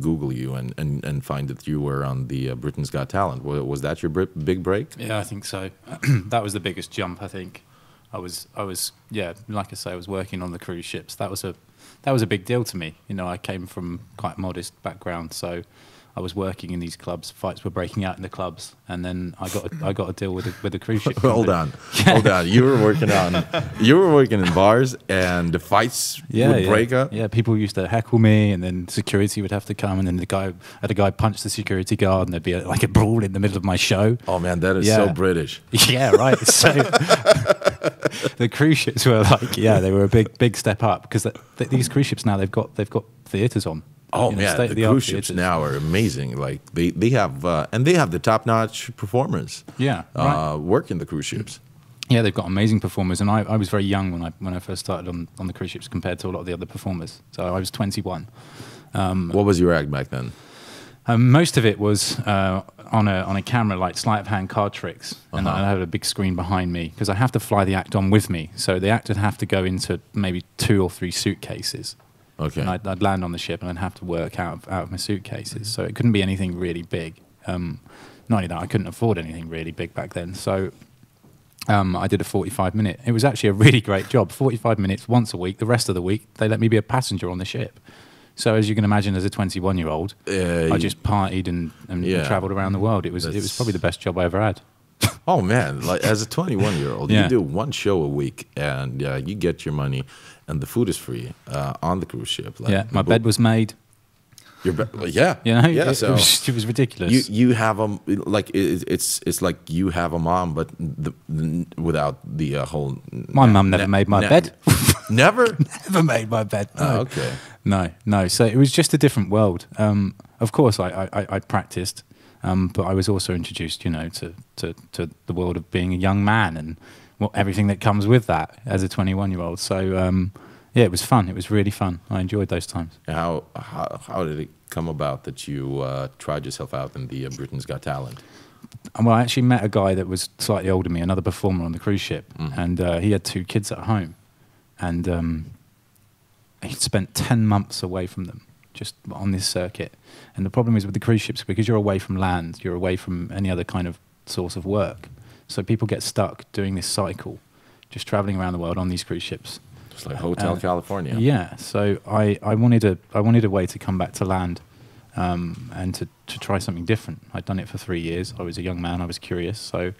Speaker 3: Google you and, and, and find that you were on the uh, Britain's Got Talent. Was, was that your bri- big
Speaker 4: (laughs)
Speaker 3: break?
Speaker 4: Yeah, I think so. (clears throat) that was the biggest jump. I think I was, I was, yeah, like I say, I was working on the cruise ships. That was a, that was a big deal to me. You know, I came from quite a modest background, so I was working in these clubs. Fights were breaking out in the clubs, and then I got, a, I got a deal with a, with
Speaker 3: (laughs)
Speaker 4: a cruise ship.
Speaker 3: Hold
Speaker 4: company. (laughs)
Speaker 3: on, hold on. You were working on, you were working in bars, and the fights would
Speaker 4: yeah.
Speaker 3: break up.
Speaker 4: Yeah, people used to heckle me, and then security would have to come, and then the guy had a guy punch the security guard, and there'd be a, like a brawl in the middle of my show.
Speaker 3: Oh man, that is so
Speaker 4: Yeah.
Speaker 3: British.
Speaker 4: Yeah,
Speaker 3: (laughs)
Speaker 4: right. So (laughs) the cruise ships were like, yeah, they were a big, big step up because th- th- these cruise ships now they've got they've got theaters on.
Speaker 3: Oh
Speaker 4: You know,
Speaker 3: man, the
Speaker 4: state-of-the-art
Speaker 3: cruise ships
Speaker 4: theatres.
Speaker 3: now are amazing. Like they they have uh, and they have the top notch performers.
Speaker 4: Yeah,
Speaker 3: uh, work in the cruise ships.
Speaker 4: Yeah, they've got amazing performers, and I, I was very young when I when I first started on, on the cruise ships compared to a lot of the other performers. So I was 21.
Speaker 3: What was your act back then?
Speaker 4: Um, most of it was uh, on a on a camera, like sleight of hand card tricks, and
Speaker 3: Uh-huh.
Speaker 4: I had a big screen behind me because I have to fly the act on with me. So the act would have to go into maybe two or three suitcases.
Speaker 3: Okay,
Speaker 4: And I'd, I'd land on the ship and I'd have to work out of, out of my suitcases. So it couldn't be anything really big. Um, not only that, I couldn't afford anything really big back then. So um, I did a 45 minute. It was actually a really great job. 45 minutes once a week. The rest of the week, they let me be a passenger on the ship. So as you can imagine, as a 21 year old,
Speaker 3: Uh,
Speaker 4: I just partied and, and
Speaker 3: Yeah.
Speaker 4: travelled around the world. It was it was
Speaker 3: That's-
Speaker 4: probably the best job I ever had.
Speaker 3: Oh man, like as a 21 year old, you
Speaker 4: Yeah.
Speaker 3: do one show a week and uh, you get your money, and the food is free uh, on the cruise ship. Like,
Speaker 4: yeah, my bed was made.
Speaker 3: Your bed. well,
Speaker 4: (laughs)
Speaker 3: yeah.
Speaker 4: You know,
Speaker 3: Yeah.
Speaker 4: it,
Speaker 3: so
Speaker 4: it, was, it was ridiculous.
Speaker 3: you you have a like it, it's it's like you have a mom, but the, without the uh, whole.
Speaker 4: my mum never made my bed. (laughs)
Speaker 3: Never.
Speaker 4: never made my bed. (laughs) No.
Speaker 3: Oh, okay.
Speaker 4: No, no. So it was just a different world. Um, of course, I, I, I- I practiced, um, but I was also introduced, you know, to, to, to the world of being a young man and what everything that comes with that as a 21 year old. So um, yeah, it was fun. It was really fun. I enjoyed those times.
Speaker 3: How, how how did it come about that you uh, tried yourself out in the uh, Britain's Got Talent?
Speaker 4: And well, I actually met a guy that was slightly older than me, another performer on the cruise ship, and uh, he had two kids at home, and um, he'd spent ten months away from them, just on this circuit. And the problem is with the cruise ships because you're away from land, you're away from any other kind of source of work, so people get stuck doing this cycle, just traveling around the world on these cruise ships.
Speaker 3: It's like Hotel
Speaker 4: Uh,
Speaker 3: California.
Speaker 4: Yeah, so I, I wanted a I wanted a way to come back to land, um, and to, to try something different. I'd done it for three years. I was a young man. I was curious. So,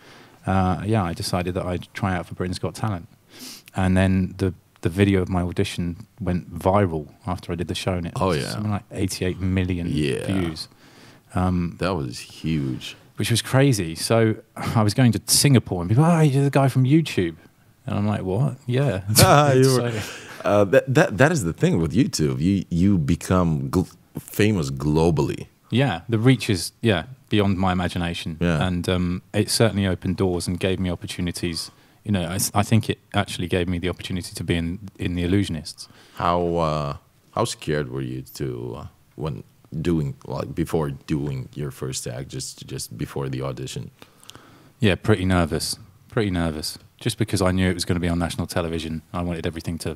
Speaker 4: uh, yeah, I decided that I'd try out for Britain's Got Talent, and then the the video of my audition went viral after I did the show, and it
Speaker 3: Oh,
Speaker 4: was
Speaker 3: yeah.
Speaker 4: something like 88 million
Speaker 3: Yeah.
Speaker 4: views.
Speaker 3: That was huge.
Speaker 4: But which was crazy. So I was going to Singapore and people, oh, you're the guy from YouTube. And I'm like, what?
Speaker 3: (laughs)
Speaker 4: Yeah.
Speaker 3: Ah, You
Speaker 4: (laughs) So-
Speaker 3: were- uh, that, that that is the thing with YouTube. You you become gl- famous globally.
Speaker 4: Yeah, the reach is yeah beyond my imagination,
Speaker 3: Yeah.
Speaker 4: and um, it certainly opened doors and gave me opportunities. You know, I, s- I think it actually gave me the opportunity to be in in the Illusionists.
Speaker 3: How uh, how scared were you to uh, when doing like before doing your first act just just before the audition?
Speaker 4: Yeah, pretty nervous, pretty nervous, just because I knew it was going to be on national television. I wanted everything to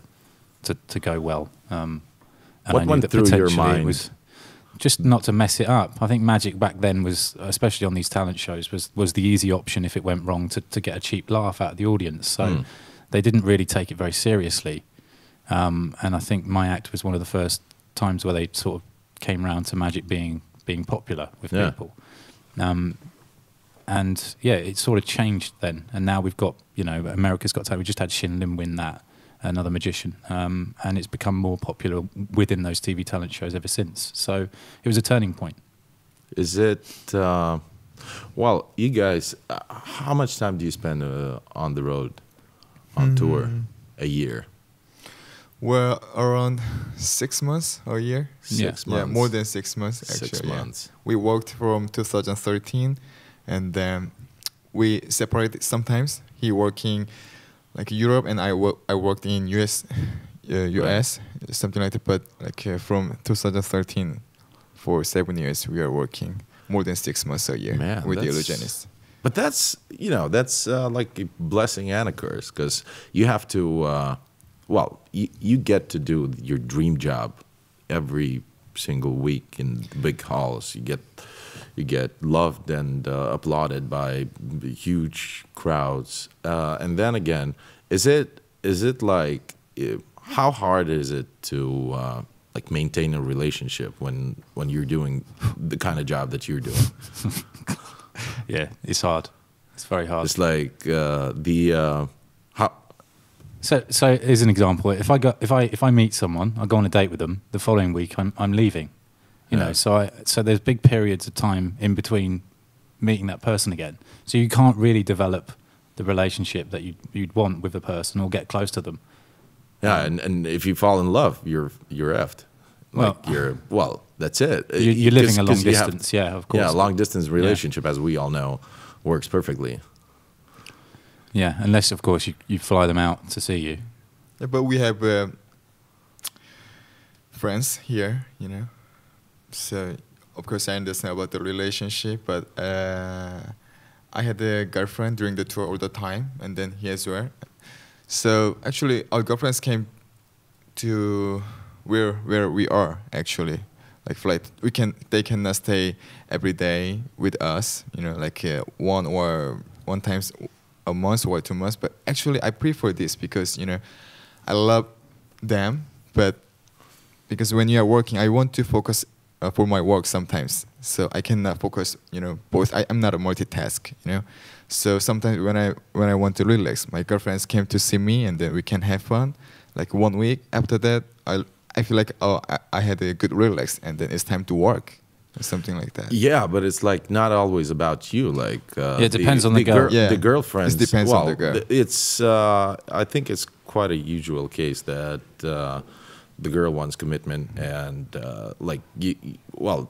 Speaker 4: to, to go well. Um, and
Speaker 3: What
Speaker 4: I knew
Speaker 3: went
Speaker 4: that
Speaker 3: through your
Speaker 4: potentially it
Speaker 3: mind?
Speaker 4: Was just not to mess it up. I think magic back then was, especially on these talent shows, was was the easy option if it went wrong to, to get a cheap laugh out of the audience. So
Speaker 3: Hmm.
Speaker 4: they didn't really take it very seriously. Um, and I think my act was one of the first times where they sort of came round to magic being being popular with
Speaker 3: Yeah.
Speaker 4: people. Um, and yeah, it sort of changed then. And now we've got, you know, America's Got Talent. We just had Shin Lim win that, another magician. Um, and it's become more popular within those TV talent shows ever since. So it was a turning point.
Speaker 3: Is it uh, well? You guys, uh, how much time do you spend uh, on the road, on tour, a year?
Speaker 2: Well, around six months or a year.
Speaker 4: Yeah.
Speaker 3: Six
Speaker 2: Yeah,
Speaker 3: months.
Speaker 2: more than six months. Actually,
Speaker 3: six
Speaker 2: yeah.
Speaker 3: months.
Speaker 2: We worked from 2013, and then we separated sometimes. He working like Europe, and I wo- I worked in US, (laughs) uh, US something like that. But like uh, from 2013, for seven years, we are working more than six months a year
Speaker 3: Man,
Speaker 2: with the
Speaker 3: that's-
Speaker 2: illusionist.
Speaker 3: But that's you know that's uh, like a blessing and a curse because you have to uh, well you, you get to do your dream job every single week in big halls. You get you get loved and uh, applauded by huge crowds. Uh, and then again, is it is it like eh, how hard is it to uh, like maintain a relationship when when you're doing the kind of job that you're doing?
Speaker 4: Yeah, it's hard. It's very hard.
Speaker 3: It's like uh, the uh, how,
Speaker 4: So, so as an example, if I go, if I if I meet someone, I go on a date with them. The following week, I'm I'm leaving. You
Speaker 3: Yeah.
Speaker 4: know, so I so there's big periods of time in between meeting that person again. So you can't really develop the relationship that you you'd want with the person or get close to them.
Speaker 3: yeah, and, and if you fall in love, you're you're effed. Like
Speaker 4: Well-
Speaker 3: you're well, that's it.
Speaker 4: You're, you're living
Speaker 3: 'Cause-
Speaker 4: a long
Speaker 3: Uh, 'cause you have-
Speaker 4: distance, yeah, of course.
Speaker 3: Yeah, long distance relationship, as we all know, works perfectly.
Speaker 4: Yeah, unless of course you, you fly them out to see you.
Speaker 2: Yeah, but we have uh, friends here, you know. So of course I understand about the relationship, but uh, I had a girlfriend during the tour all the time, and then he as well. So actually, our girlfriends came to where where we are actually, like flight. We can they cannot stay every day with us, you know, like uh, one or one times a month or two months. But actually, I prefer this because you know, I love them, but because when you are working, I want to focus uh, for my work sometimes. So I cannot focus, you know, both. I, I'm not a multitask, you know. So sometimes when I when I want to relax, my girlfriends came to see me, and then we can have fun. Like one week after that, I I feel like oh I, I had a good relax, and then it's time to work, or something like that.
Speaker 3: Yeah, but it's like not always about you. Like uh,
Speaker 4: Yeah, it depends on the girl.
Speaker 2: Yeah.
Speaker 3: the girlfriends.
Speaker 2: It depends on
Speaker 3: well,
Speaker 2: the girl.
Speaker 3: th- It's uh, I think it's quite a usual case that uh, the girl wants commitment and uh, like y- y- well,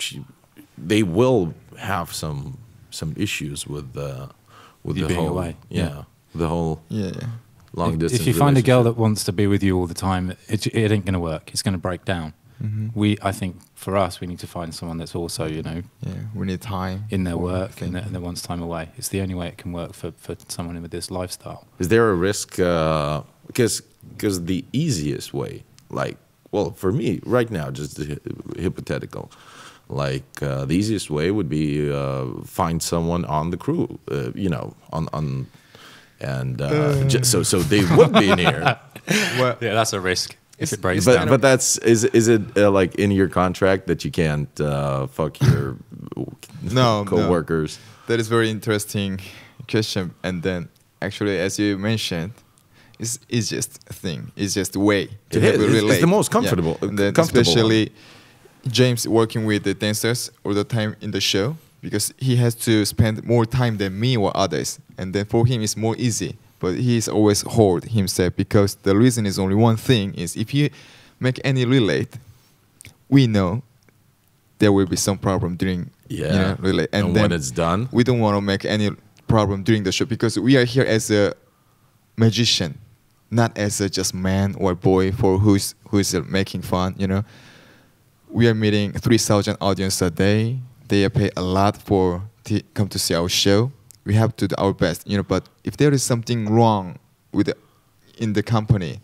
Speaker 3: she, they will have some some issues with uh, with
Speaker 4: You
Speaker 3: the
Speaker 4: being
Speaker 3: whole
Speaker 4: away.
Speaker 3: yeah,
Speaker 4: Yeah.
Speaker 3: the whole
Speaker 2: Yeah, yeah.
Speaker 3: long
Speaker 4: If-
Speaker 3: distance.
Speaker 4: If you find a girl
Speaker 3: relationship.
Speaker 4: that wants to be with you all the time, it, it ain't going to work. It's going to break down.
Speaker 3: Mm-hmm.
Speaker 4: We, I think, for us, we need to find someone that's also, you know,
Speaker 2: yeah. We need time
Speaker 4: in their
Speaker 2: for
Speaker 4: work
Speaker 2: thing.
Speaker 4: and their, and their wants time away. It's the only way it can work for, for someone with this lifestyle.
Speaker 3: Is there a risk? Because because the easiest way, like, well, for me right now, just hy- hypothetical, like uh, the easiest way would be uh, find someone on the crew, uh, you know, on on, and uh,
Speaker 2: Mm.
Speaker 3: ju- so so they would be
Speaker 2: (laughs)
Speaker 3: near.
Speaker 2: Well,
Speaker 4: Yeah, that's a risk if
Speaker 2: It's-
Speaker 4: it breaks
Speaker 3: But
Speaker 4: down.
Speaker 3: but that's is is it uh, like in your contract that you can't uh, fuck your
Speaker 2: (laughs) No, no.
Speaker 3: coworkers?
Speaker 2: That is very interesting question. And then, actually, as you mentioned, it's easiest thing, easiest way to
Speaker 3: It
Speaker 2: have
Speaker 3: is.
Speaker 2: a
Speaker 3: It's- it's
Speaker 2: relate.
Speaker 3: the most comfortable-
Speaker 2: Yeah. And then
Speaker 3: comfortable one.
Speaker 2: especially James working with the dancers all the time in the show because he has to spend more time than me or others, and then for him it's more easy. But he is always hoard himself because the reason is only one thing: is if you make any relate, we know there will be some problem during you
Speaker 3: Yeah.
Speaker 2: know, relate, and,
Speaker 3: And
Speaker 2: then
Speaker 3: when it's done?
Speaker 2: we don't want to make any problem during the show because we are here as a magician, not as a just man or boy for who's who's uh, making fun. You know, we are meeting three thousand audience a day. They pay a lot for to come to see our show. We have to do our best, you know. But if there is something wrong with the, in the company,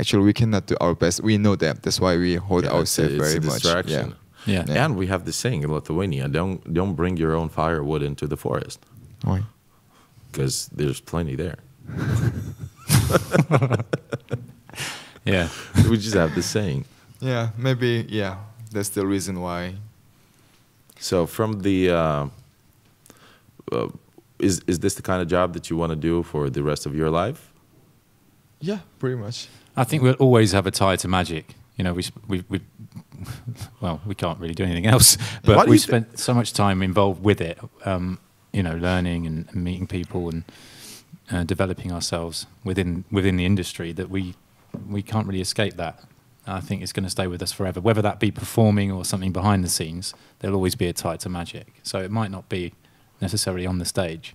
Speaker 2: actually we cannot do our best. We know that. That's why we hold
Speaker 3: Yeah, it's a-
Speaker 2: ourselves
Speaker 3: it's a
Speaker 2: very much.
Speaker 3: distraction.
Speaker 4: Yeah.
Speaker 2: Yeah.
Speaker 3: And we have the saying in Lithuania: don't don't bring your own firewood into the forest
Speaker 2: Why?
Speaker 3: because there's plenty there. (laughs)
Speaker 4: Yeah.
Speaker 3: we just have the saying.
Speaker 2: Yeah, maybe. Yeah, that's the reason why.
Speaker 3: So from the uh, uh, is is this the kind of job that you want to do for the rest of your life?
Speaker 2: Yeah, pretty much.
Speaker 4: I think we'll always have a tie to magic. You know, we sp- we, we (laughs) well, we can't really do anything else,
Speaker 3: Why
Speaker 4: but
Speaker 3: do
Speaker 4: we
Speaker 3: you thi-
Speaker 4: spent so much time involved with it. Um, you know, learning and, and meeting people and uh, developing ourselves within within the industry that we we can't really escape that. I think it's going to stay with us forever, whether that be performing or something behind the scenes. There'll always be a tie to magic, so it might not be necessarily on the stage,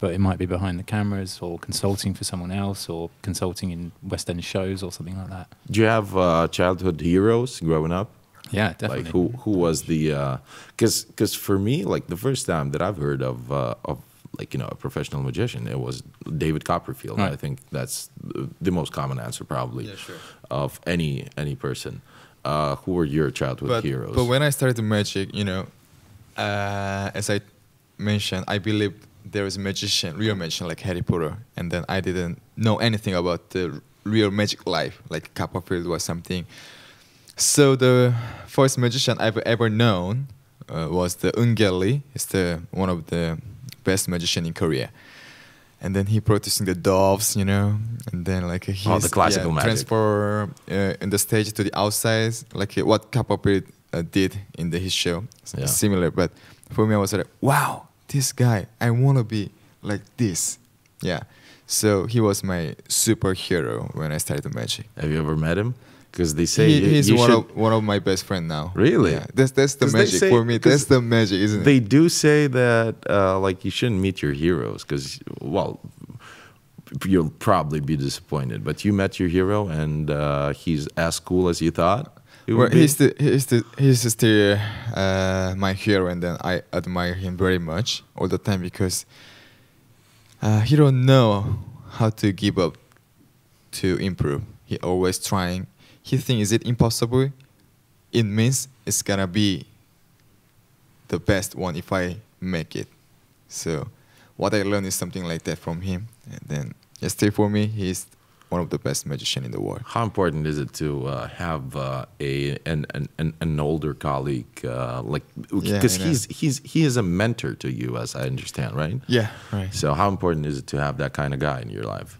Speaker 4: but it might be behind the cameras or consulting for someone else or consulting in West End shows or something like that.
Speaker 3: Do you have uh, childhood heroes growing up?
Speaker 4: Yeah, definitely.
Speaker 3: Like who who was the because because for me like the first time that I've heard of uh, of like you know a professional magician it was David Copperfield.
Speaker 4: Right.
Speaker 3: I think that's the, the most common answer probably
Speaker 2: Yeah, sure.
Speaker 3: of any any person. Uh, who were your childhood
Speaker 2: but,
Speaker 3: heroes?
Speaker 2: But when I started magic, you know, uh, as I mentioned, I believed there was a magician, real magician like Harry Potter, and then I didn't know anything about the real magic life, like Copperfield or something. So the first magician I've ever known uh, was the Ungeli. It's the one of the best magician in Korea. And then he practicing the doves, you know, and then like he's
Speaker 3: Oh, classical magic.
Speaker 2: transfer uh, in the stage to the outside, like uh, what Copperfield uh, did in the, his show, It's
Speaker 3: Yeah.
Speaker 2: similar. But for me, I was like, wow, this guy, I want to be like this. Yeah. So he was my superhero when I started magic.
Speaker 3: have you ever met him? Because they say
Speaker 2: He-
Speaker 3: you-
Speaker 2: he's
Speaker 3: you
Speaker 2: one
Speaker 3: should-
Speaker 2: of one of my best friend now.
Speaker 3: Really?
Speaker 2: Yeah. That's that's the
Speaker 3: 'Cause they
Speaker 2: magic
Speaker 3: say-
Speaker 2: for me.
Speaker 3: 'cause
Speaker 2: That's the magic, isn't
Speaker 3: they
Speaker 2: it?
Speaker 3: do say that uh, like you shouldn't meet your heroes because well you'll probably be disappointed but you met your hero and uh, he's as cool as you thought he
Speaker 2: Well,
Speaker 3: would be.
Speaker 2: he's the he's the he's still uh, my hero, and then I admire him very much all the time because uh, he don't know how to give up to improve. He always trying. He think is it impossible? It means it's gonna be the best one if I make it. So what I learned is something like that from him. And then yesterday for me, he's one of the best magician in the world.
Speaker 3: how important is it to uh, have uh, a an, an, an, an older colleague uh, like
Speaker 2: Yeah,
Speaker 3: because
Speaker 2: I know.
Speaker 3: he's he's he is a mentor to you as I understand right
Speaker 2: Yeah, right.
Speaker 3: so how important is it to have that kind of guy in your life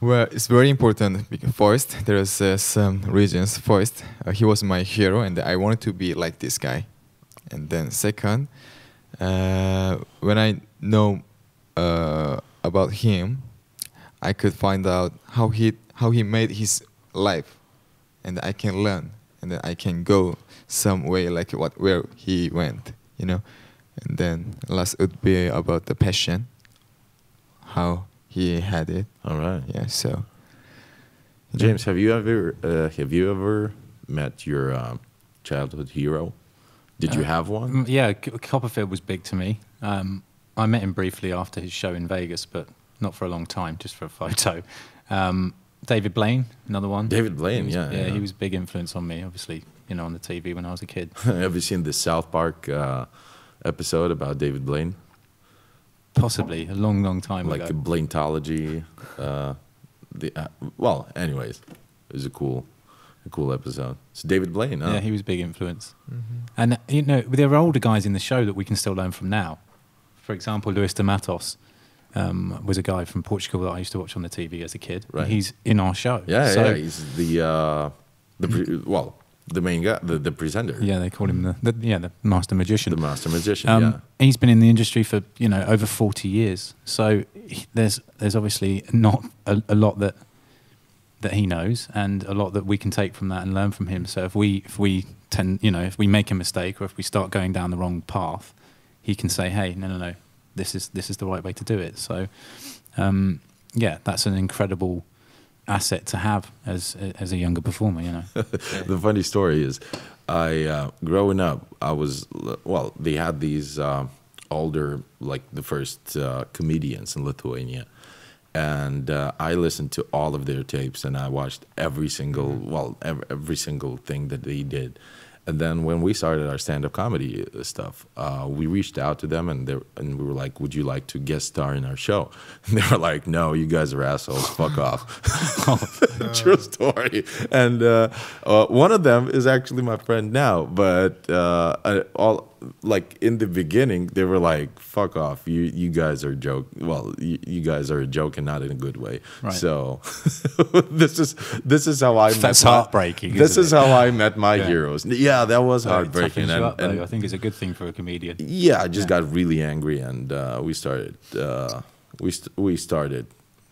Speaker 2: Well, it's very important. because First, there is uh, some reasons. First, uh, he was my hero, and I wanted to be like this guy. And then second, uh, when I know uh, about him, I could find out how he how he made his life, and I can learn, and then I can go some way like what where he went, you know. And then last would be about the passion, how he had it.
Speaker 3: all right
Speaker 2: Yeah, so
Speaker 3: James, have you ever uh, have you ever met your uh, childhood hero? Did
Speaker 2: Uh,
Speaker 3: you have one?
Speaker 2: (laughs)
Speaker 4: Mm, Yeah, C- Copperfield was big to me. Um, I met him briefly after his show in Vegas, but not for a long time, just for a (laughs) photo. Um, David Blaine, another one.
Speaker 3: David Blaine,
Speaker 4: He was-
Speaker 3: yeah,
Speaker 4: yeah,
Speaker 3: yeah.
Speaker 4: he was a big influence on me, obviously. You know, on the TV when I was a kid.
Speaker 3: have you seen the South Park uh, episode about David Blaine,
Speaker 4: Possibly a long, long time
Speaker 3: like
Speaker 4: ago.
Speaker 3: Blaintology? Uh, the uh, well, anyways, it was a cool, a cool episode. It's David Blaine, huh?
Speaker 4: Yeah, he was a big influence. And you know, there are older guys in the show that we can still learn from now. For example, Luis de Matos um, was a guy from Portugal that I used to watch on the TV as a kid. and
Speaker 3: Right.
Speaker 4: He's in our show.
Speaker 3: yeah,
Speaker 4: So
Speaker 3: yeah, He's the uh, the pre- well, The main guy, the, the presenter,
Speaker 4: Yeah, they call him the, the yeah the master magician.
Speaker 3: the master magician.
Speaker 4: Um,
Speaker 3: yeah.
Speaker 4: He's been in the industry for you know over forty years, so he- there's there's obviously not a, a lot that that he knows, and a lot that we can take from that and learn from him. So if we if we tend you know if we make a mistake or if we start going down the wrong path, he can say, hey, no no no, this is this is the right way to do it. So um, yeah, that's an incredible asset to have as as a younger
Speaker 3: (laughs)
Speaker 4: performer. You know,
Speaker 3: the funny story is, I uh, growing up, I was well. They had these uh, older, like the first uh, comedians in Lithuania, and uh, I listened to all of their tapes and I watched every single well every, every single thing that they did. And then when we started our stand-up comedy uh, stuff, uh, we reached out to them and they and we were like, "Would you like to guest star in our show?" (laughs) And they were like, "No, you guys are assholes.
Speaker 4: (laughs)
Speaker 3: Fuck off." (laughs) True story. And uh, uh, one of them is actually my friend now, but uh, I, all like in the beginning, they were like, "Fuck off! You you guys are joke. Well, you, you guys are a joke and not in a good way."
Speaker 4: Right.
Speaker 3: So (laughs) this is this is how I.
Speaker 4: That's
Speaker 3: met my-
Speaker 4: heartbreaking,
Speaker 3: This
Speaker 4: isn't
Speaker 3: is how I met my
Speaker 4: Yeah.
Speaker 3: heroes. Yeah, that was heartbreaking.
Speaker 4: toughens you
Speaker 3: and-
Speaker 4: up,
Speaker 3: and-
Speaker 4: though. I think it's a good thing for a comedian.
Speaker 3: yeah, I just got really angry, and uh, we started uh, we st- we started,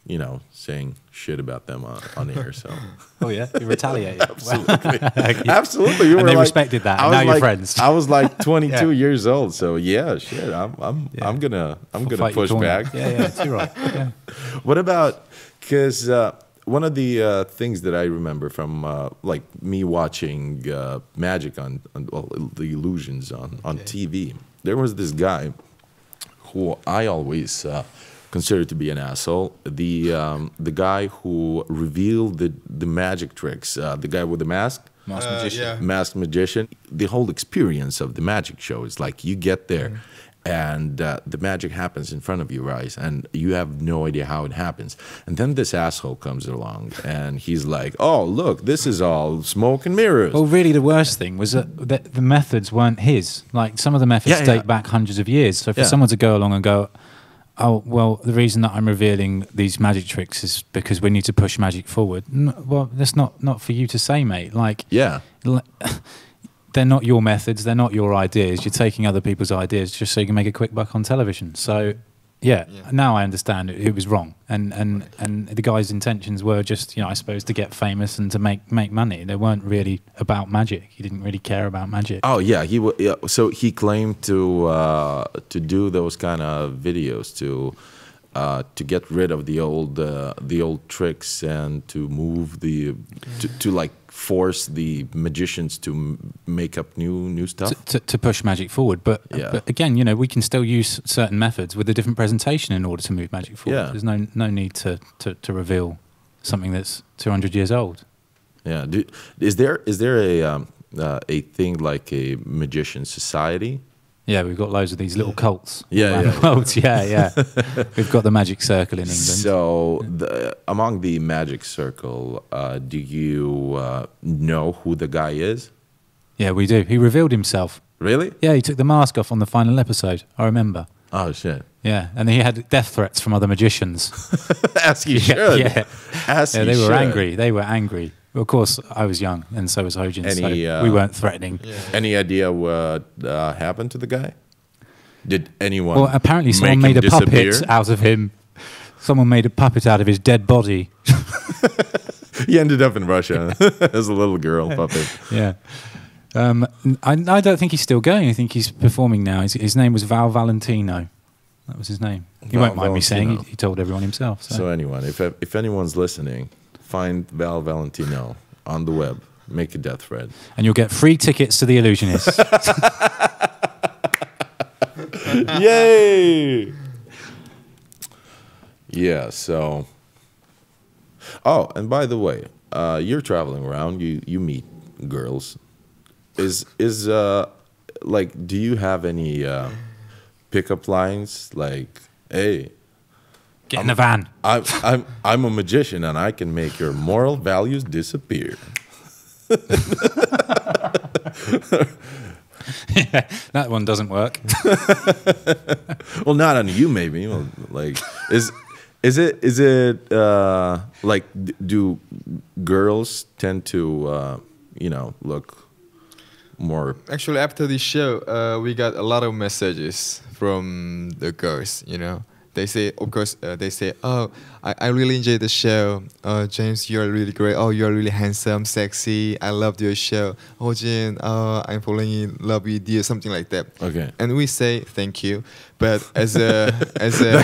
Speaker 3: you know, saying shit about them on, on air.
Speaker 4: (laughs)
Speaker 3: So (laughs)
Speaker 4: Oh yeah, you retaliated.
Speaker 3: absolutely, (laughs)
Speaker 4: Okay.
Speaker 3: absolutely, you
Speaker 4: And
Speaker 3: were
Speaker 4: they
Speaker 3: like-
Speaker 4: respected that,
Speaker 3: I
Speaker 4: and
Speaker 3: was
Speaker 4: now you're
Speaker 3: like-
Speaker 4: friends.
Speaker 3: I was
Speaker 4: (laughs)
Speaker 3: like 22 years old, so yeah, shit, I'm I'm
Speaker 4: Yeah.
Speaker 3: I'm gonna I'm
Speaker 4: Fight
Speaker 3: gonna
Speaker 4: your
Speaker 3: push
Speaker 4: corner.
Speaker 3: back.
Speaker 4: Yeah, yeah, that's
Speaker 3: (laughs)
Speaker 4: right. Yeah.
Speaker 3: What about because uh, one of the uh, things that I remember from uh, like me watching uh, magic on, on well, the illusions on on TV, there was this guy who I always uh, considered to be an asshole. The um, the guy who revealed the the magic tricks, uh, the guy with the mask.
Speaker 4: Master
Speaker 2: Uh,
Speaker 4: magician.
Speaker 2: yeah.
Speaker 3: Masked Magician. The whole experience of the magic show is like you get there and uh, the magic happens in front of your eyes and you have no idea how it happens. And then this asshole comes along and he's like, oh, look, this is all smoke and mirrors.
Speaker 4: Well, really, the worst thing was that the, the methods weren't his. Like some of the methods
Speaker 3: Yeah, yeah.
Speaker 4: date back hundreds of years. So for
Speaker 3: Yeah.
Speaker 4: someone to go along and go, "Oh, well, the reason that I'm revealing these magic tricks is because we need to push magic forward." N- well, that's not not for you to say, mate. Like,
Speaker 3: Yeah.
Speaker 4: l- (sighs) they're not your methods. They're not your ideas. You're taking other people's ideas just so you can make a quick buck on television. So, yeah,
Speaker 2: Yeah.
Speaker 4: now I understand it, it was wrong, and and and the guy's intentions were just, you know, I suppose to get famous and to make make money. They weren't really about magic. He didn't really care about magic.
Speaker 3: Oh yeah, he wa yeah, so he claimed to uh, to do those kind of videos to uh, to get rid of the old uh, the old tricks and to move the to, to like force the magicians to m- make up new new stuff.
Speaker 4: to, to, to push magic forward. But,
Speaker 3: Yeah.
Speaker 4: but again, you know, we can still use certain methods with a different presentation in order to move magic forward.
Speaker 3: Yeah.
Speaker 4: There's no no need to, to, to reveal something that's 200 years old.
Speaker 3: Yeah, do, is there is there a um, uh, a thing like a magician society?
Speaker 4: Yeah, we've got loads of these little cults.
Speaker 3: (laughs) Yeah,
Speaker 4: around (laughs)
Speaker 3: yeah.
Speaker 4: the world. yeah,
Speaker 3: (laughs)
Speaker 4: yeah. we've got the magic circle in England.
Speaker 3: So, the, among the magic circle, uh, do you uh, know who the guy is?
Speaker 4: yeah, we do. He revealed himself.
Speaker 3: Really?
Speaker 4: Yeah, he took the mask off on the final episode. I remember.
Speaker 3: Oh shit!
Speaker 4: Yeah, and he had death threats from other magicians.
Speaker 3: As you
Speaker 4: Yeah,
Speaker 3: should.
Speaker 4: yeah.
Speaker 3: (laughs) As
Speaker 4: Yeah,
Speaker 3: you
Speaker 4: they were
Speaker 3: should.
Speaker 4: angry. They were angry. Of course, I was young, and so was Hojin.
Speaker 3: Any,
Speaker 4: so
Speaker 3: uh,
Speaker 4: we weren't threatening.
Speaker 3: Any idea what uh, happened to the guy? Did anyone?
Speaker 4: Well, apparently someone
Speaker 3: make
Speaker 4: made
Speaker 3: him
Speaker 4: a
Speaker 3: disappear?
Speaker 4: puppet out of him. Someone made a puppet out of his dead body.
Speaker 3: (laughs) He ended up in Russia (laughs) as a little girl
Speaker 4: (laughs)
Speaker 3: puppet.
Speaker 4: yeah. Um, I, I don't think he's still going. I think he's performing now. His, his name was Val Valentino. That was his name. He
Speaker 3: Val
Speaker 4: won't mind me saying.
Speaker 3: Valentino.
Speaker 4: He, he told everyone himself. So.
Speaker 3: So anyone, if if anyone's listening, find Val Valentino on the web. Make a death threat.
Speaker 4: And you'll get free tickets to The Illusionist.
Speaker 3: (laughs) Yay! Yeah. So. Oh, and by the way, uh, you're traveling around. You you meet girls. Is is uh like? Do you have any uh, pickup lines like? Hey,
Speaker 4: get in the van. (laughs)
Speaker 3: I'm I'm I'm a magician and I can make your moral values disappear.
Speaker 4: That one doesn't work.
Speaker 3: Well, not on you, maybe. Well, like, is is it is it uh, like d- do girls tend to uh, you know, look more
Speaker 2: Actually, after this show, uh, we got a lot of messages from the girls. You know, they say, of course, uh, they say, "Oh, I, I really enjoyed the show. Uh, James, you're really great. Oh, you're really handsome, sexy. I loved your show. Oh, Jin, uh, I'm falling in love with you. Something like that.
Speaker 3: Okay.
Speaker 2: And we say thank you, but as a as a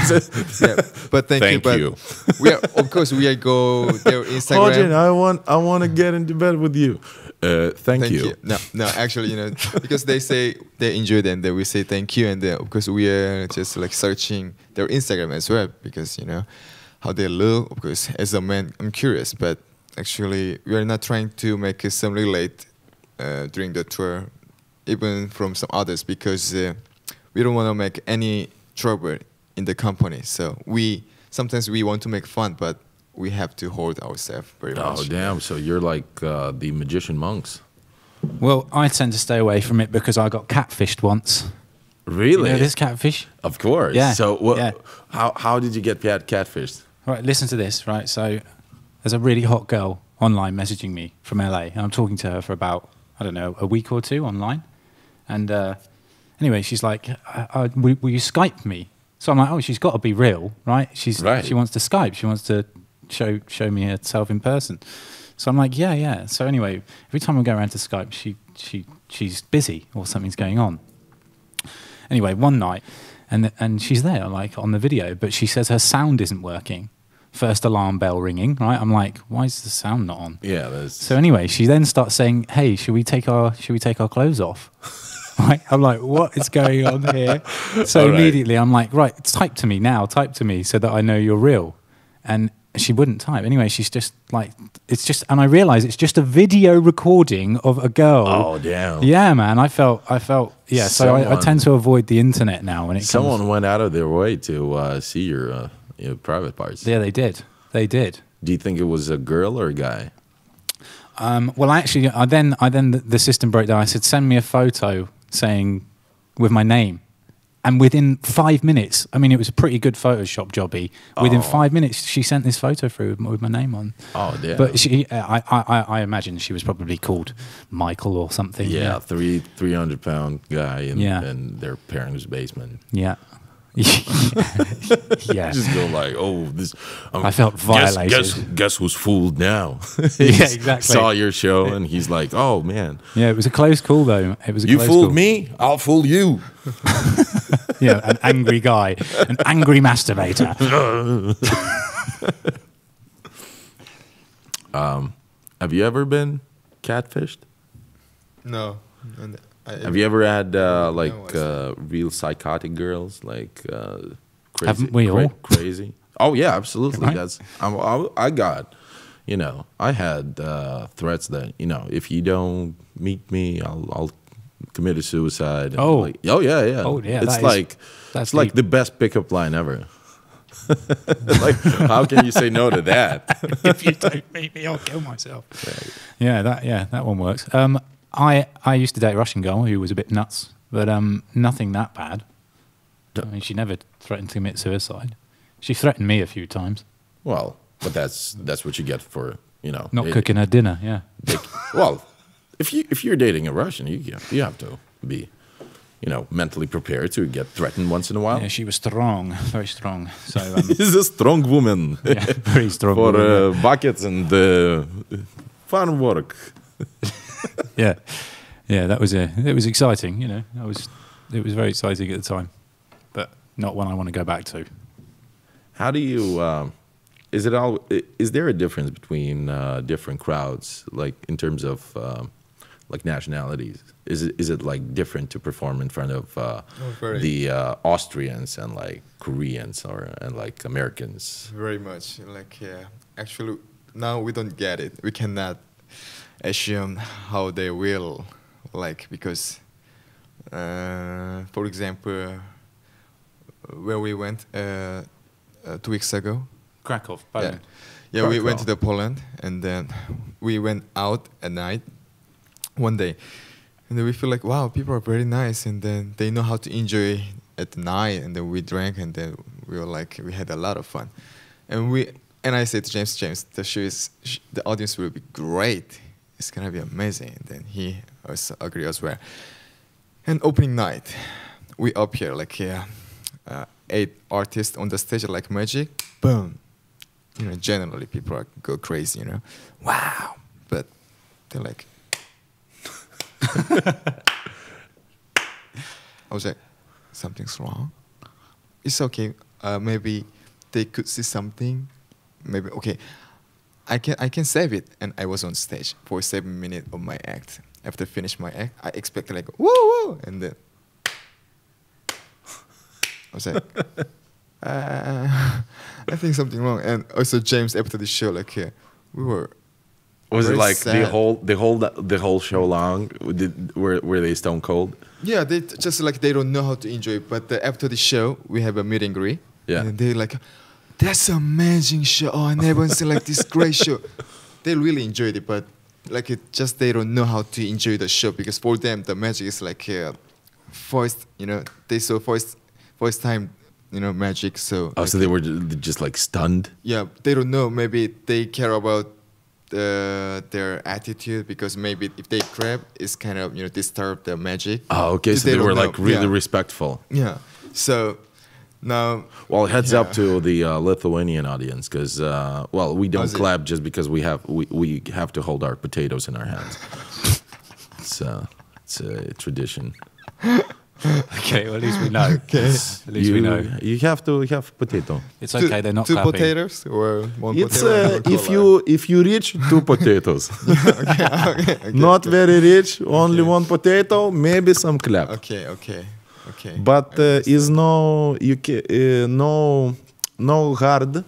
Speaker 2: yeah, but thank, you.
Speaker 3: Thank
Speaker 2: But
Speaker 3: you. Oh,
Speaker 2: we are, of course we are go their Instagram.
Speaker 3: Ojin, I want I want to get into bed with you. Uh, thank, you.
Speaker 2: No, no, actually, you know, because they say they enjoyed and then we say thank you, and then of course we are just like searching their Instagram as well because you know how they look. Of course, as a man, I'm curious, but actually we are not trying to make some relate uh, during the tour, even from some others because uh, we don't want to make any trouble in the company. So we sometimes we want to make fun, but we have to hold ourselves very much.
Speaker 3: Oh damn! So you're like uh, the magician monks.
Speaker 4: Well, I tend to stay away from it because I got catfished once.
Speaker 3: Really?
Speaker 4: You know this catfish?
Speaker 3: Of course.
Speaker 4: Yeah,
Speaker 3: So what?
Speaker 4: yeah.
Speaker 3: How how did you get cat catfished?
Speaker 4: Right, listen to this, right? So there's a really hot girl online messaging me from LA, and I'm talking to her for about, I don't know, a week or two online. And uh, anyway, she's like, I, I, will, will you Skype me? So I'm like, oh, she's got to be real, right? She's,
Speaker 3: Right.
Speaker 4: She wants to Skype, she wants to show, show me herself in person. So I'm like, yeah, yeah. So anyway, every time I go around to Skype, she, she, she's busy or something's going on. Anyway, one night, and and she's there like on the video, but she says her sound isn't working. First alarm bell ringing, right? I'm like, why is the sound not on?
Speaker 3: Yeah. That's,
Speaker 4: So anyway, she then starts saying, "Hey, should we take our should we take our clothes off?" (laughs) right? I'm like, "What is going on here?" So
Speaker 3: All right.
Speaker 4: immediately I'm like, "Right, type to me now. Type to me so that I know you're real." And she wouldn't type. Anyway, she's just like, it's just, and I realize it's just a video recording of a girl.
Speaker 3: Oh, damn.
Speaker 4: Yeah, man. I felt, I felt, yeah. So I, I
Speaker 3: Someone-
Speaker 4: tend to avoid the internet now when it comes.
Speaker 3: someone went out of their way to uh, see your uh, your private parts.
Speaker 4: Yeah, they did. They did.
Speaker 3: Do you think it was a girl or a guy?
Speaker 4: Um, well, actually, I then I then the, the system broke down. I said, send me a photo saying with my name, and within five minutes, I mean, it was a pretty good Photoshop jobby. Within five minutes, she sent this photo through with, my- with my name on.
Speaker 3: Oh damn.
Speaker 4: But she, I, I, I- I imagine she was probably called Michael or something.
Speaker 3: yeah, three three hundred pound guy in,
Speaker 4: Yeah.
Speaker 3: in their parents' basement.
Speaker 4: Yeah. (laughs)
Speaker 3: (laughs)
Speaker 4: yeah.
Speaker 3: Just go like, oh, this. I'm,
Speaker 4: I felt violated.
Speaker 3: Guess, guess, guess who's fooled now? (laughs) He
Speaker 4: (laughs) Yeah,
Speaker 3: s-
Speaker 4: exactly.
Speaker 3: Saw your show and he's like, oh man,
Speaker 4: Yeah, it was a close call though. It was a
Speaker 3: you
Speaker 4: close
Speaker 3: fooled
Speaker 4: call.
Speaker 3: me, I'll fool you.
Speaker 4: Yeah, an angry guy, an angry masturbator.
Speaker 3: Have you ever been catfished?
Speaker 2: No. And I,
Speaker 3: Have you ever had uh,
Speaker 2: I
Speaker 3: like
Speaker 2: see.
Speaker 3: uh, real psychotic girls, like uh, crazy?
Speaker 4: Haven't we all?
Speaker 3: Crazy. Oh yeah, absolutely.
Speaker 4: Right?
Speaker 3: That's I'm, I, I got. You know, I had uh, threats that you know, if you don't meet me, I'll, I'll commit a suicide. and
Speaker 4: Oh.
Speaker 3: like- oh yeah, yeah.
Speaker 4: Oh, yeah,
Speaker 3: It's
Speaker 4: that is-
Speaker 3: like
Speaker 4: that's
Speaker 3: it's like
Speaker 4: deep.
Speaker 3: the best pickup line ever. (laughs) like, how can you say no to that?
Speaker 4: (laughs) if you (laughs) don't meet me, I'll kill myself. Yeah, that yeah, that one works. Um, I I used to date a Russian girl who was a bit nuts, but um, nothing that bad. I mean, she never threatened to commit suicide. She threatened me a few times,
Speaker 3: Well, but that's that's what you get for you know
Speaker 4: not
Speaker 3: it-
Speaker 4: cooking her dinner. Yeah,
Speaker 3: well, if you if you're dating a Russian, you you- you have to be, you know, mentally prepared to get threatened once in a while.
Speaker 4: yeah,
Speaker 3: (laughs)
Speaker 4: she was strong, (laughs) very strong. So um,
Speaker 3: She's a strong woman
Speaker 4: yeah, very strong.
Speaker 3: for
Speaker 4: woman,
Speaker 3: uh, buckets and uh, farm work.
Speaker 4: (laughs) yeah, yeah, that was it. It was exciting, you know. I was, it was very exciting at the time, but not one I want to go back to.
Speaker 3: How do you? Um, is it all? i- Is there a difference between uh, different crowds, like in terms of um, like nationalities? Is it is it like different to perform in front of uh,
Speaker 2: very.
Speaker 3: the uh, Austrians and like Koreans or and like Americans?
Speaker 2: Very much. Like, yeah. Actually, now we don't get it. We cannot assume how they will, like, because, uh, for example, where we went uh, uh, two weeks ago.
Speaker 4: Krakow,
Speaker 2: Yeah,
Speaker 4: Poland.
Speaker 2: yeah we went to
Speaker 3: Krakow.
Speaker 2: the Poland and then we went out at night one day. And then we feel like, wow, people are very nice. And then they know how to enjoy at night. And then we drank and then we were like, we had a lot of fun. And we, and I said to James, James, the show is, sh- the audience will be great. it's gonna be amazing. Then he also agreed as well. And opening night, we up here like yeah, uh, eight artists on the stage like magic. Boom. You know, generally people are go crazy. You know, wow. But they're like, I was like, something's wrong. It's okay. Uh, maybe they could see something. Maybe okay. I can I can save it, and I was on stage for seven minutes of my act. After finish my act, I expected like woo woo, and then (laughs) I was like, (laughs) uh, (laughs) I think something wrong. And also James after the show, like yeah, we were
Speaker 3: Was it
Speaker 2: very
Speaker 3: like the
Speaker 2: sad.
Speaker 3: whole the whole the whole show long? Did, were were they stone cold?
Speaker 2: Yeah, they t- just like they don't know how to enjoy it. But uh, after the show, we have a meet and greet.
Speaker 3: Yeah.
Speaker 2: And they're like, that's amazing show. Oh, I never seen like this great show. (laughs) They really enjoyed it, but like it just they don't know how to enjoy the show because for them the magic is like uh, first, you know, they saw first first time, you know, magic. So
Speaker 3: Oh,
Speaker 2: like,
Speaker 3: so they were ju- just like stunned.
Speaker 2: yeah, they don't know. Maybe they care about uh, their attitude because maybe if they grab, it's kind of you know disturb the magic.
Speaker 3: Oh, okay. So they,
Speaker 2: don't
Speaker 3: were
Speaker 2: know.
Speaker 3: like really
Speaker 2: Yeah.
Speaker 3: respectful.
Speaker 2: Yeah. So now,
Speaker 3: Well, heads up
Speaker 2: Yeah.
Speaker 3: to the uh, Lithuanian audience because, uh, well, we don't
Speaker 2: How's it?
Speaker 3: clap just because we have we, we have to hold our potatoes in our hands. (laughs) it's, uh, it's a tradition.
Speaker 4: (laughs) Okay, well, at least we know. At least
Speaker 3: you,
Speaker 4: we know.
Speaker 3: You have to have potato.
Speaker 4: It's okay,
Speaker 2: two,
Speaker 4: they're not
Speaker 2: two
Speaker 4: clapping.
Speaker 2: potatoes or one
Speaker 3: It's
Speaker 2: potato.
Speaker 3: uh,
Speaker 2: and one
Speaker 3: if
Speaker 2: cola.
Speaker 3: you if you
Speaker 2: (laughs)
Speaker 3: rich two (laughs) potatoes, not very rich, only one potato, maybe some clap.
Speaker 2: Okay, okay, okay.
Speaker 3: But uh, is no you ca- uh, no no hard,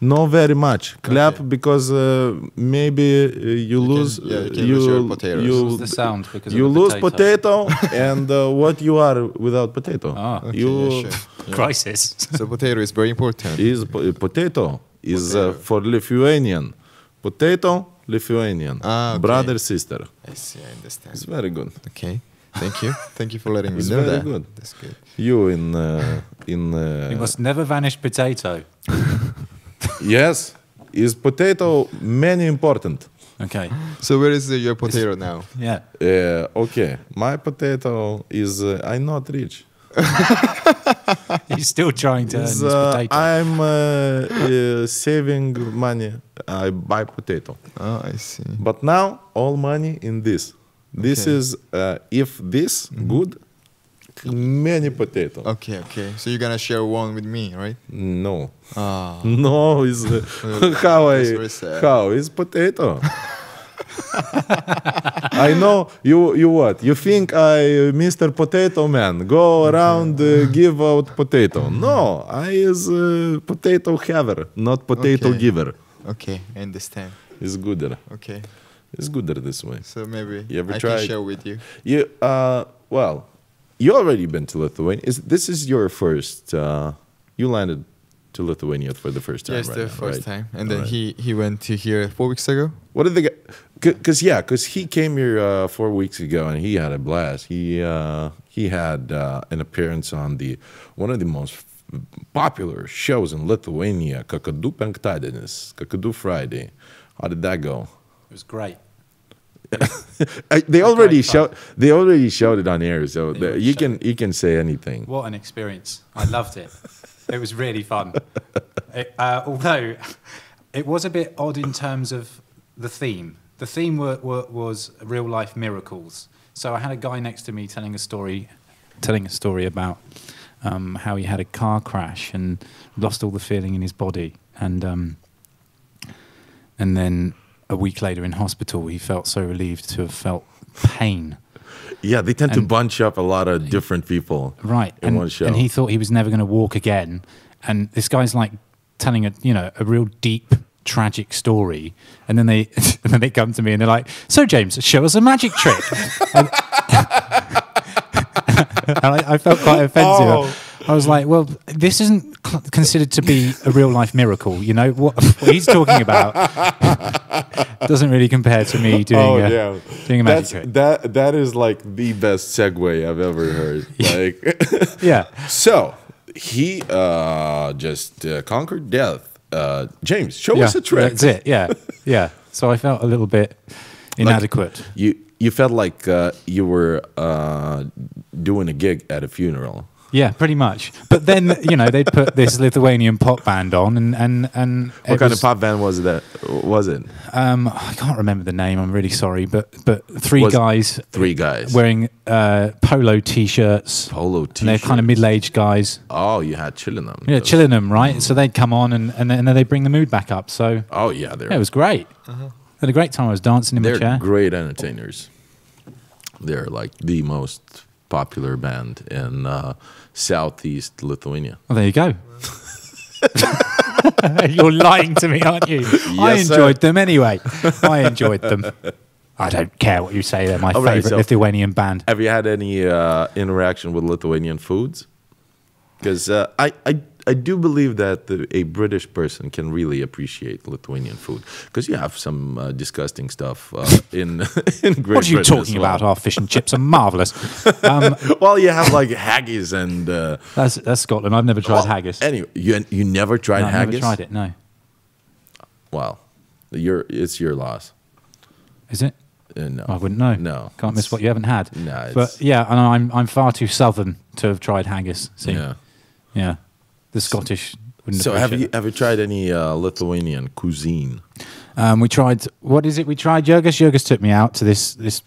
Speaker 3: no very much clap
Speaker 2: Okay.
Speaker 3: because uh, maybe uh, you,
Speaker 2: can-
Speaker 3: lose
Speaker 2: yeah, you can
Speaker 3: you
Speaker 2: lose your potatoes.
Speaker 3: you-
Speaker 4: Lose the sound because of
Speaker 3: you
Speaker 4: the
Speaker 3: lose
Speaker 4: potato.
Speaker 3: potato, and uh, what you are without potato
Speaker 4: Ah.
Speaker 2: Okay,
Speaker 3: you
Speaker 2: yeah, sure.
Speaker 4: Crisis.
Speaker 2: so potato is very important.
Speaker 3: is po- eh, potato is uh,
Speaker 2: Potato.
Speaker 3: for Lithuanian potato Lithuanian
Speaker 2: Ah, okay.
Speaker 3: brother sister
Speaker 2: I see. I
Speaker 3: it's
Speaker 2: understand.
Speaker 3: very good
Speaker 2: Okay. Thank you. Thank you for letting me
Speaker 3: It's
Speaker 2: know
Speaker 3: very
Speaker 2: that.
Speaker 3: good.
Speaker 2: That's good.
Speaker 3: you in uh, in uh,
Speaker 4: You must never vanish potato.
Speaker 3: yes is potato many important.
Speaker 4: Okay.
Speaker 2: So where is uh, your potato now?
Speaker 3: (laughs)
Speaker 4: Yeah.
Speaker 3: Uh, okay, my potato is uh, I'm not rich.
Speaker 4: He's still trying to earn
Speaker 3: Is,
Speaker 4: his
Speaker 3: uh,
Speaker 4: potato.
Speaker 3: I'm uh, uh, saving money. I buy potato,
Speaker 2: Oh, I see.
Speaker 3: but now all money in this. This
Speaker 2: Okay.
Speaker 3: is uh, if this good, many potato.
Speaker 2: Okay, okay. So you're gonna share one with me, right?
Speaker 3: No,
Speaker 2: Ah. (laughs)
Speaker 3: no is uh, how
Speaker 2: That's
Speaker 3: I
Speaker 2: very sad.
Speaker 3: how is potato. I know you. You what? You think I, uh, Mr. Potato Man, go around uh, give out potato? No, I is uh, potato haver, not potato
Speaker 2: Okay.
Speaker 3: giver.
Speaker 2: Okay, I understand.
Speaker 3: It's gooder.
Speaker 2: Okay.
Speaker 3: It's gooder this way.
Speaker 2: So maybe
Speaker 3: You ever
Speaker 2: I
Speaker 3: tried-
Speaker 2: can share with you.
Speaker 3: You uh, well, you already been to Lithuania. Is this is your first? Uh, you landed to Lithuania for the first time.
Speaker 2: yes,
Speaker 3: right
Speaker 2: the
Speaker 3: now,
Speaker 2: first
Speaker 3: right?
Speaker 2: time. And then
Speaker 3: Alright.
Speaker 2: he he went to here four weeks ago.
Speaker 3: What did the guy? Because yeah, because he came here uh, four weeks ago and he had a blast. He uh, he had uh, an appearance on the one of the most f- popular shows in Lithuania, Kakadu Penktadienis, Kakadu Friday. How did that go?
Speaker 4: it was great.
Speaker 3: I, they already
Speaker 4: great fun.
Speaker 3: shout. They already shouted on air, so
Speaker 4: They
Speaker 3: the-
Speaker 4: already
Speaker 3: you can you can say anything.
Speaker 4: What an experience. I loved it. it was really fun. It, uh, although it was a bit odd in terms of the theme. The theme were, were, was real life miracles. So I had a guy next to me telling a story, telling a story about um, how he had a car crash and lost all the feeling in his body. And um, and then a week later in hospital, he felt so relieved to have felt pain.
Speaker 3: Yeah, they tend to
Speaker 4: And-
Speaker 3: bunch up a lot of different people.
Speaker 4: Right.
Speaker 3: in
Speaker 4: and,
Speaker 3: one show.
Speaker 4: and he thought he was never going to walk again. And this guy's like telling a you know a real deep tragic story. And then they (laughs) and then they come to me and they're like, "So James, show us a magic trick." (laughs) and and I, I felt quite offensive.
Speaker 3: Oh.
Speaker 4: I was like, "Well, this isn't cl- considered to be a real life miracle, you know what, (laughs) what he's talking about." (laughs) doesn't really compare to me
Speaker 3: (laughs)
Speaker 4: doing
Speaker 3: oh
Speaker 4: a,
Speaker 3: yeah,
Speaker 4: doing a magic
Speaker 3: That's,
Speaker 4: trick.
Speaker 3: that that is like the best segue I've ever
Speaker 4: (laughs)
Speaker 3: heard. Like. (laughs)
Speaker 4: yeah.
Speaker 3: So he uh, just uh, conquered death. Uh, James, show us a trick.
Speaker 4: That's it. Yeah, yeah. So I felt a little bit Inadequate.
Speaker 3: You you felt like uh, you were uh, doing a gig at a funeral.
Speaker 4: Yeah, pretty much. But then you know they'd put this Lithuanian pop band on, and and and
Speaker 3: What
Speaker 4: it
Speaker 3: kind
Speaker 4: was-
Speaker 3: of pop band was that? Was it
Speaker 4: Um, I can't remember the name. I'm really sorry, but but three
Speaker 3: Was-
Speaker 4: guys
Speaker 3: three guys
Speaker 4: wearing uh, polo t-shirts,
Speaker 3: polo t-shirts?
Speaker 4: and they're kind of middle-aged guys.
Speaker 3: Oh, you had chilling them.
Speaker 4: Yeah, chilling them right. So they'd come on, and and then, and then they bring the mood back up. So
Speaker 3: Oh yeah, they're
Speaker 4: yeah, it was great. Had a great time. I was dancing in my
Speaker 3: Uh-huh. they're
Speaker 4: chair.
Speaker 3: great entertainers. They're like the most popular band in uh, southeast Lithuania.
Speaker 4: Well, there you go. (laughs) You're lying to me, aren't you? I
Speaker 3: Yes, sir.
Speaker 4: enjoyed them anyway. I enjoyed them. I don't care what you say. They're my
Speaker 3: All right,
Speaker 4: favorite
Speaker 3: so-
Speaker 4: Lithuanian band.
Speaker 3: Have you had any uh, interaction with Lithuanian foods? Because uh, I, I, I do believe that the, a British person can really appreciate Lithuanian food. Because you have some uh, disgusting stuff
Speaker 4: (laughs)
Speaker 3: uh, in (laughs) in Great
Speaker 4: What are you
Speaker 3: Britain as
Speaker 4: talking
Speaker 3: well.
Speaker 4: about? Our fish and chips are marvelous.
Speaker 3: (laughs)
Speaker 4: Um,
Speaker 3: Well, you have like haggis and uh,
Speaker 4: that's that's Scotland. I've never tried
Speaker 3: well,
Speaker 4: haggis.
Speaker 3: Anyway, you you never tried
Speaker 4: No, I've
Speaker 3: haggis?
Speaker 4: never tried it. No,
Speaker 3: Wow, your it's your loss.
Speaker 4: is it?
Speaker 3: Uh, no,
Speaker 4: I wouldn't know.
Speaker 3: No,
Speaker 4: can't miss what you haven't had.
Speaker 3: No, it's-
Speaker 4: but yeah, and I'm I'm far too southern to have tried haggis. See,
Speaker 3: Yeah.
Speaker 4: yeah, the Scottish. Wouldn't
Speaker 3: So have
Speaker 4: appreciate
Speaker 3: you
Speaker 4: it.
Speaker 3: have you tried any uh, Lithuanian cuisine?
Speaker 4: Um, we tried. What is it? We tried Jurgis. Jurgis took me out to this this.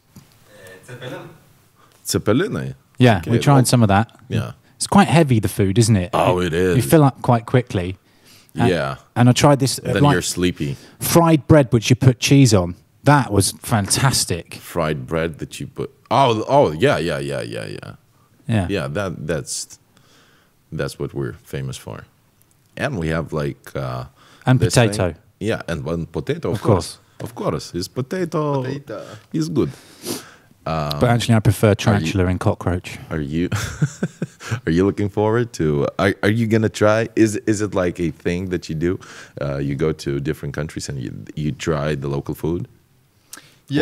Speaker 3: Cepeline.
Speaker 4: Yeah,
Speaker 3: Okay,
Speaker 4: we tried
Speaker 3: well,
Speaker 4: some of that.
Speaker 3: Yeah.
Speaker 4: It's quite heavy, the food, isn't it?
Speaker 3: Oh, it is.
Speaker 4: You fill up quite quickly. And-
Speaker 3: Yeah.
Speaker 4: And I tried this uh,
Speaker 3: Then
Speaker 4: like
Speaker 3: you're sleepy.
Speaker 4: fried bread, which you put cheese on. That was fantastic.
Speaker 3: fried bread that you put. Oh, oh, yeah, yeah, yeah, yeah, yeah,
Speaker 4: Yeah.
Speaker 3: yeah. That that's that's what we're famous for, and we have like uh,
Speaker 4: And
Speaker 3: this thing-
Speaker 4: potato.
Speaker 3: Yeah, and one potato, of,
Speaker 4: Of
Speaker 3: course.
Speaker 4: course.
Speaker 3: of course, is potato,
Speaker 2: Potato.
Speaker 3: is good.
Speaker 4: but actually, I prefer tarantula and cockroach.
Speaker 3: Are you (laughs) are you looking forward to? Are, are you gonna try? Is is it like a thing that you do? Uh, you go to different countries and you you try the local food.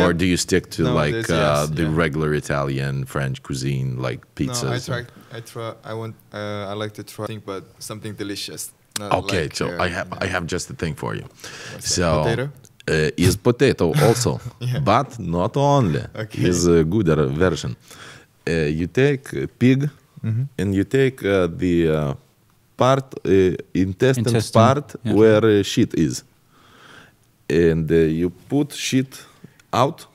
Speaker 3: Or do you stick to like
Speaker 2: Nowadays,
Speaker 3: uh,
Speaker 2: yes,
Speaker 3: the
Speaker 2: yeah.
Speaker 3: regular Italian, French cuisine, like pizzas?
Speaker 2: No, I
Speaker 3: and-
Speaker 2: try. I try. I want. Uh, I like to try things, but something delicious. not
Speaker 3: Okay,
Speaker 2: like,
Speaker 3: so
Speaker 2: uh,
Speaker 3: I have I have just the thing for you.
Speaker 2: What's that,
Speaker 3: So
Speaker 2: potato?
Speaker 3: Uh, is potato
Speaker 2: (laughs)
Speaker 3: also, but not only.
Speaker 2: Okay.
Speaker 3: Is a good uh, version. Uh, you take uh, pig,
Speaker 2: Mm-hmm.
Speaker 3: and you take uh, the uh, part uh, intestine,
Speaker 4: Intestine,
Speaker 3: part
Speaker 4: yeah.
Speaker 3: where uh, shit is, and uh, you put shit out.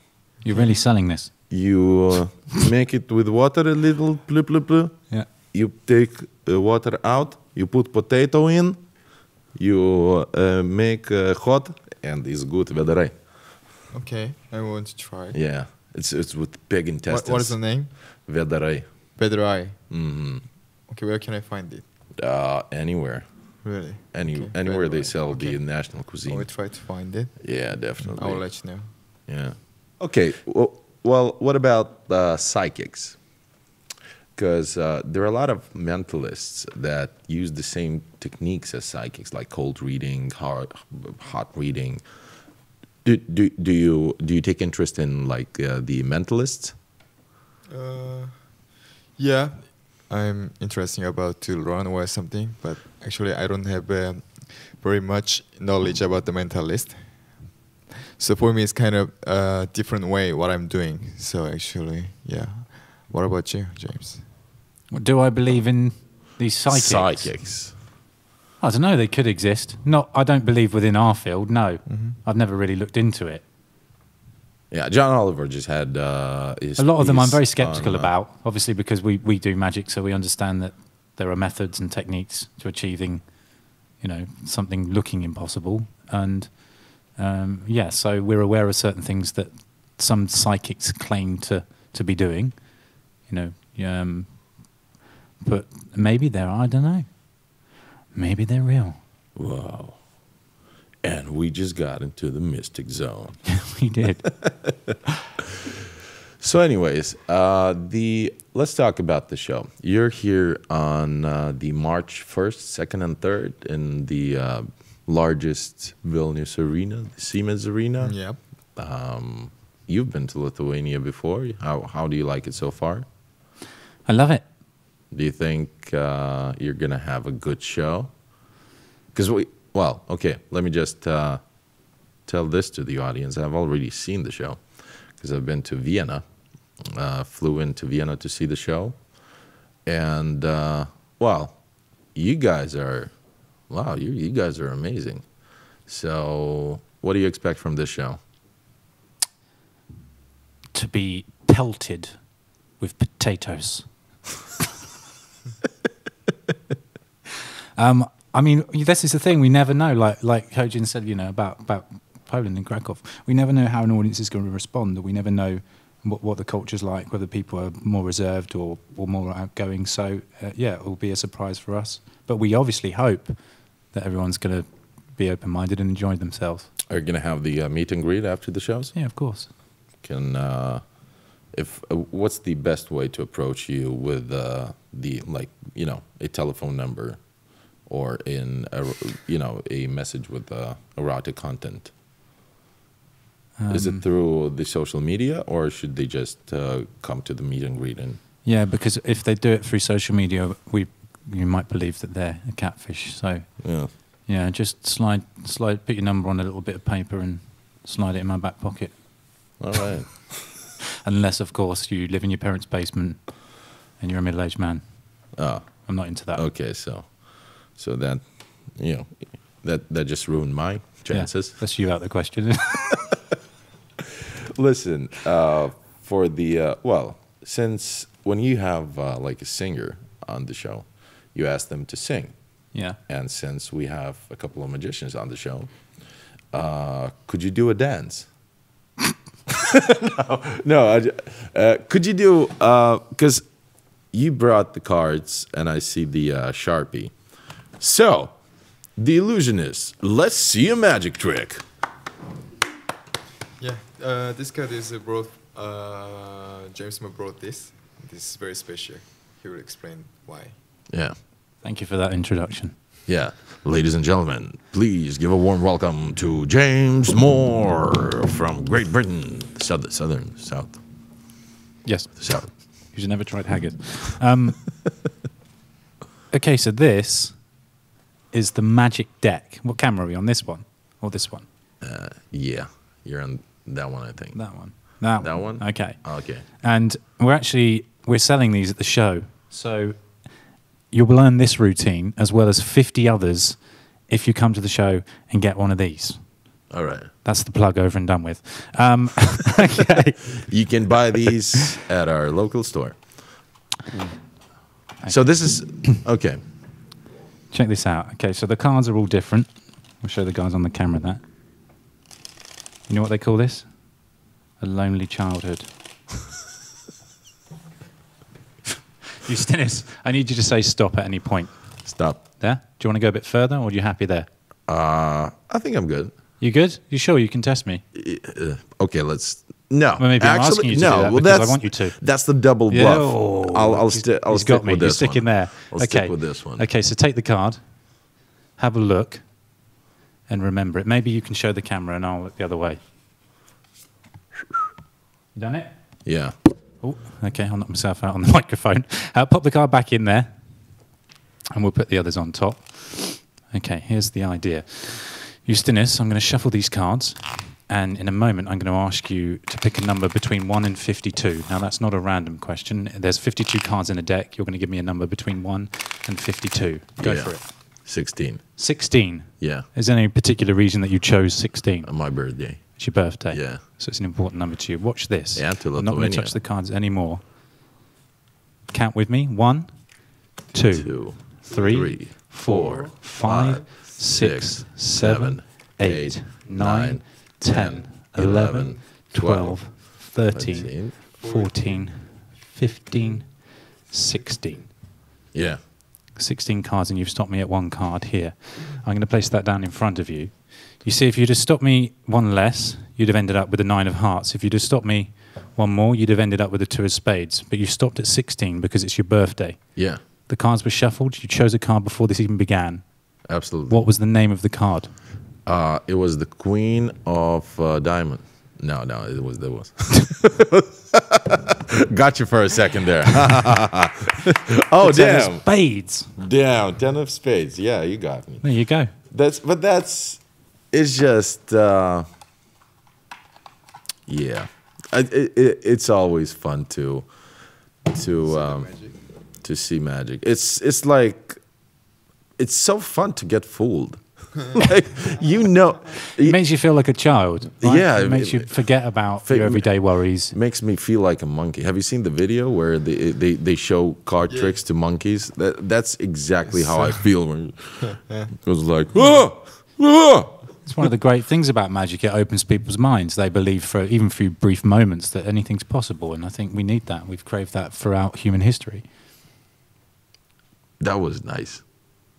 Speaker 4: You're really selling this.
Speaker 3: You uh, make it with water a little, blah, blah, blah
Speaker 4: Yeah.
Speaker 3: you take uh, water out, you put potato in, you uh, make uh, hot, and it's good vedere.
Speaker 2: Okay, I want to try.
Speaker 3: Yeah, it's it's with pig
Speaker 2: What,
Speaker 3: intestines.
Speaker 2: what is the name?
Speaker 3: Vedere.
Speaker 2: Bedrai. Mm-hmm. Okay, where can I find it?
Speaker 3: Uh, anywhere,
Speaker 2: Really?
Speaker 3: any
Speaker 2: Okay,
Speaker 3: anywhere they
Speaker 2: Bedrai.
Speaker 3: sell
Speaker 2: Okay.
Speaker 3: the national
Speaker 2: I
Speaker 3: cuisine.
Speaker 2: will try to find it.
Speaker 3: yeah, definitely.
Speaker 2: I will let you know.
Speaker 3: Yeah. Okay. Well, well what about uh, psychics? Because uh, there are a lot of mentalists that use the same techniques as psychics, like cold reading, hot, hot reading. Do, do, do you do you take interest in like uh, the mentalists?
Speaker 2: Uh, yeah, I'm interested about to learn or something, but actually I don't have um, very much knowledge about the mentalist. So for me, it's kind of a different way what I'm doing. So actually, yeah. What about you, James?
Speaker 4: Do I believe in these psychics?
Speaker 3: Psychics.
Speaker 4: I don't know. They could exist. Not. I don't believe within our field. No.
Speaker 3: Mm-hmm.
Speaker 4: I've never really looked into it.
Speaker 3: Yeah, John Oliver just had uh, his
Speaker 4: A lot of them I'm
Speaker 3: piece
Speaker 4: very skeptical
Speaker 3: on, uh,
Speaker 4: about, obviously because we, we do magic, so we understand that there are methods and techniques to achieving, you know, something looking impossible. And um, yeah, so we're aware of certain things that some psychics claim to, to be doing, you know. Um, but maybe they're, I don't know. Maybe they're real. (laughs)
Speaker 3: Wow. And we just got into the mystic zone.
Speaker 4: we did.
Speaker 3: So, anyways, uh, the let's talk about the show. You're here on uh, the March first, second, and third in the uh, largest Vilnius arena, the Siemens Arena.
Speaker 2: Yeah.
Speaker 3: Um, you've been to Lithuania before. How how do you like it so far?
Speaker 4: I love it.
Speaker 3: Do you think uh, you're gonna have a good show? Because we well, okay. Let me just uh, tell this to the audience. I've already seen the show. because I've been to Vienna. Uh, flew into Vienna to see the show, and uh, well, you guys are, wow, you you guys are amazing. So, what do you expect from this show?
Speaker 4: to be pelted with potatoes. (laughs) um, I mean, this is the thing we never know. Like like Kojin said, you know about about Poland and Krakow. We never know how an audience is going to respond. We never know what what the culture's like, whether people are more reserved or or more outgoing. So uh, yeah, it will be a surprise for us. But we obviously hope that everyone's going to be open minded and enjoy themselves.
Speaker 3: Are you gonna have the uh, meet and greet after the shows?
Speaker 4: Yeah, of course.
Speaker 3: Can uh, if uh, what's the best way to approach you with uh, the like you know a telephone number or in a, you know a message with uh, erotic content? Is it through the social media or should they just uh, come to the meet and greet and
Speaker 4: Yeah, because if they do it through social media, we you might believe that they're a catfish. So
Speaker 3: yeah?
Speaker 4: yeah, just slide slide put your number on a little bit of paper and slide it in my back pocket.
Speaker 3: All right.
Speaker 4: Unless of course you live in your parents' basement and you're a middle aged man.
Speaker 3: oh,
Speaker 4: I'm not into that.
Speaker 3: okay. So, so that you know that that just ruined my
Speaker 4: Yeah,
Speaker 3: chances.
Speaker 4: that's you out the question. (laughs)
Speaker 3: Listen, uh, for the uh, well, since when you have uh, like a singer on the show, you ask them to sing,
Speaker 4: yeah.
Speaker 3: and since we have a couple of magicians on the show, uh, could you do a dance? (laughs) no, no. I, ju- uh, could you do? Because you brought the cards, and I see the uh, sharpie. So, the illusionist. Let's see a magic trick.
Speaker 2: Yeah, uh, this card is uh, brought. Uh, James Ma brought this. This is very special. He will explain why.
Speaker 3: Yeah.
Speaker 4: Thank you for that introduction.
Speaker 3: Yeah. Ladies and gentlemen, please give a warm welcome to James Moore from Great Britain, south, southern, south,
Speaker 4: Yes.
Speaker 3: south.
Speaker 4: Who's never tried haggis. Um, okay, so this is the magic deck. What camera are we on? This one or this one?
Speaker 3: Yeah, you're on that one, I think.
Speaker 4: That one. That,
Speaker 3: That one?
Speaker 4: Okay.
Speaker 3: Okay.
Speaker 4: and we're actually we're selling these at the show so you'll learn this routine as well as 50 others if you come to the show and get one of these
Speaker 3: All right.
Speaker 4: that's the plug over and done with um, (laughs) okay
Speaker 3: You can buy these at our local store. So this is okay.
Speaker 4: check this out okay so the cards are all different we'll show the guys on the camera that you know what they call this a lonely childhood (laughs) (laughs) Eustanis, I need you to say stop at any point.
Speaker 3: Stop.
Speaker 4: There? Do you want to go a bit further or are you happy there?
Speaker 3: Uh, I think I'm good.
Speaker 4: You good? You sure you can test me?
Speaker 3: Okay, let's. No,
Speaker 4: Well, maybe I'm
Speaker 3: actually,
Speaker 4: asking you to
Speaker 3: no.
Speaker 4: do that
Speaker 3: well,
Speaker 4: because I
Speaker 3: that's,
Speaker 4: want you to.
Speaker 3: That's the double bluff.
Speaker 4: Oh,
Speaker 3: I'll, I'll,
Speaker 4: he's-
Speaker 3: sti- I'll
Speaker 4: he's
Speaker 3: stick
Speaker 4: got me.
Speaker 3: with
Speaker 4: You're
Speaker 3: this
Speaker 4: sticking
Speaker 3: one.
Speaker 4: there.
Speaker 3: I'll
Speaker 4: okay.
Speaker 3: stick with this one.
Speaker 4: Okay, so take the card, have a look, and remember it. Maybe you can show the camera, and I'll look the other way. You done it?
Speaker 3: Yeah.
Speaker 4: Oh, okay. I'll knock myself out on the (laughs) microphone. Uh, pop the card back in there, and we'll put the others on top. Okay, here's the idea. Eustinus, I'm going to shuffle these cards, and in a moment, I'm going to ask you to pick a number between 1 and 52. Now, that's not a random question. There's 52 cards in a deck. You're going to give me a number between 1 and 52. Go
Speaker 3: Yeah.
Speaker 4: for it.
Speaker 3: 16.
Speaker 4: 16.
Speaker 3: Yeah.
Speaker 4: Is there any particular reason that you chose 16?
Speaker 3: On my birthday.
Speaker 4: It's your birthday.
Speaker 3: Yeah.
Speaker 4: So it's an important number to you. Watch this.
Speaker 3: Yeah, to
Speaker 4: I'm not going
Speaker 3: Lithuania.
Speaker 4: to touch the cards anymore. Count with me. One, two,
Speaker 3: Two,
Speaker 4: three,
Speaker 3: three,
Speaker 4: four,
Speaker 3: four,
Speaker 4: five,
Speaker 3: five,
Speaker 4: six,
Speaker 3: six,
Speaker 4: seven,
Speaker 3: seven,
Speaker 4: eight,
Speaker 3: eight,
Speaker 4: nine,
Speaker 3: nine,
Speaker 4: ten,
Speaker 3: ten,
Speaker 4: eleven,
Speaker 3: eleven,
Speaker 4: twelve, thirteen,
Speaker 3: thirteen,
Speaker 4: fourteen, fifteen, sixteen.
Speaker 3: Yeah.
Speaker 4: 16 cards and you've stopped me at one card here. I'm going to place that down in front of you. You see, if you'd have stopped me one less, you'd have ended up with a nine of hearts. If you'd have stopped me one more, you'd have ended up with a two of spades. But you stopped at 16 because it's your birthday.
Speaker 3: Yeah.
Speaker 4: The cards were shuffled. You chose a card before this even began.
Speaker 3: Absolutely.
Speaker 4: What was the name of the card?
Speaker 3: Uh, it was the Queen of uh, Diamond. No, no, it was that was. Got you for a second there. (laughs) oh
Speaker 4: Ten of
Speaker 3: damn,
Speaker 4: Spades.
Speaker 3: damn, ten of spades. Yeah, you got me.
Speaker 4: There you go.
Speaker 3: That's but that's it's just uh, yeah. I, it, it, it's always fun to to um, to see magic. It's it's like it's so fun to get fooled. like you know,
Speaker 4: It
Speaker 3: it
Speaker 4: makes you feel like a child. right?
Speaker 3: Yeah,
Speaker 4: It makes
Speaker 3: it-
Speaker 4: you forget about
Speaker 3: Fi-
Speaker 4: your everyday worries.
Speaker 3: makes me feel like a monkey. Have you seen the video where they they, they show card tricks to monkeys? That that's exactly how I feel when it was like oh,
Speaker 4: It's one of the great things about magic. It opens people's minds. They believe, for even through brief moments, that anything's possible. And I think we need that. We've craved that throughout human history.
Speaker 3: that was nice.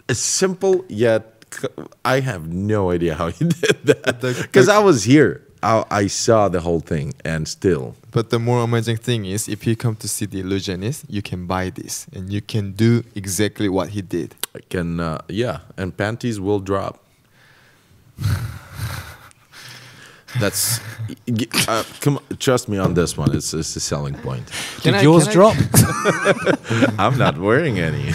Speaker 3: It's simple yet c- I have no idea how you (laughs) did that
Speaker 2: The-
Speaker 3: because I was here. I, I saw the whole thing and still
Speaker 2: But the more amazing thing is, if you come to see the illusionist, you can buy this and you can do exactly what he
Speaker 3: (laughs)
Speaker 2: did.
Speaker 3: I can uh, yeah, and panties will drop. (laughs) That's y- uh, come on, trust me on this one. It's it's a selling point.
Speaker 2: Can
Speaker 4: Did
Speaker 2: I-
Speaker 4: yours
Speaker 2: can I- (laughs)
Speaker 4: drop?
Speaker 3: (laughs) I'm not wearing any.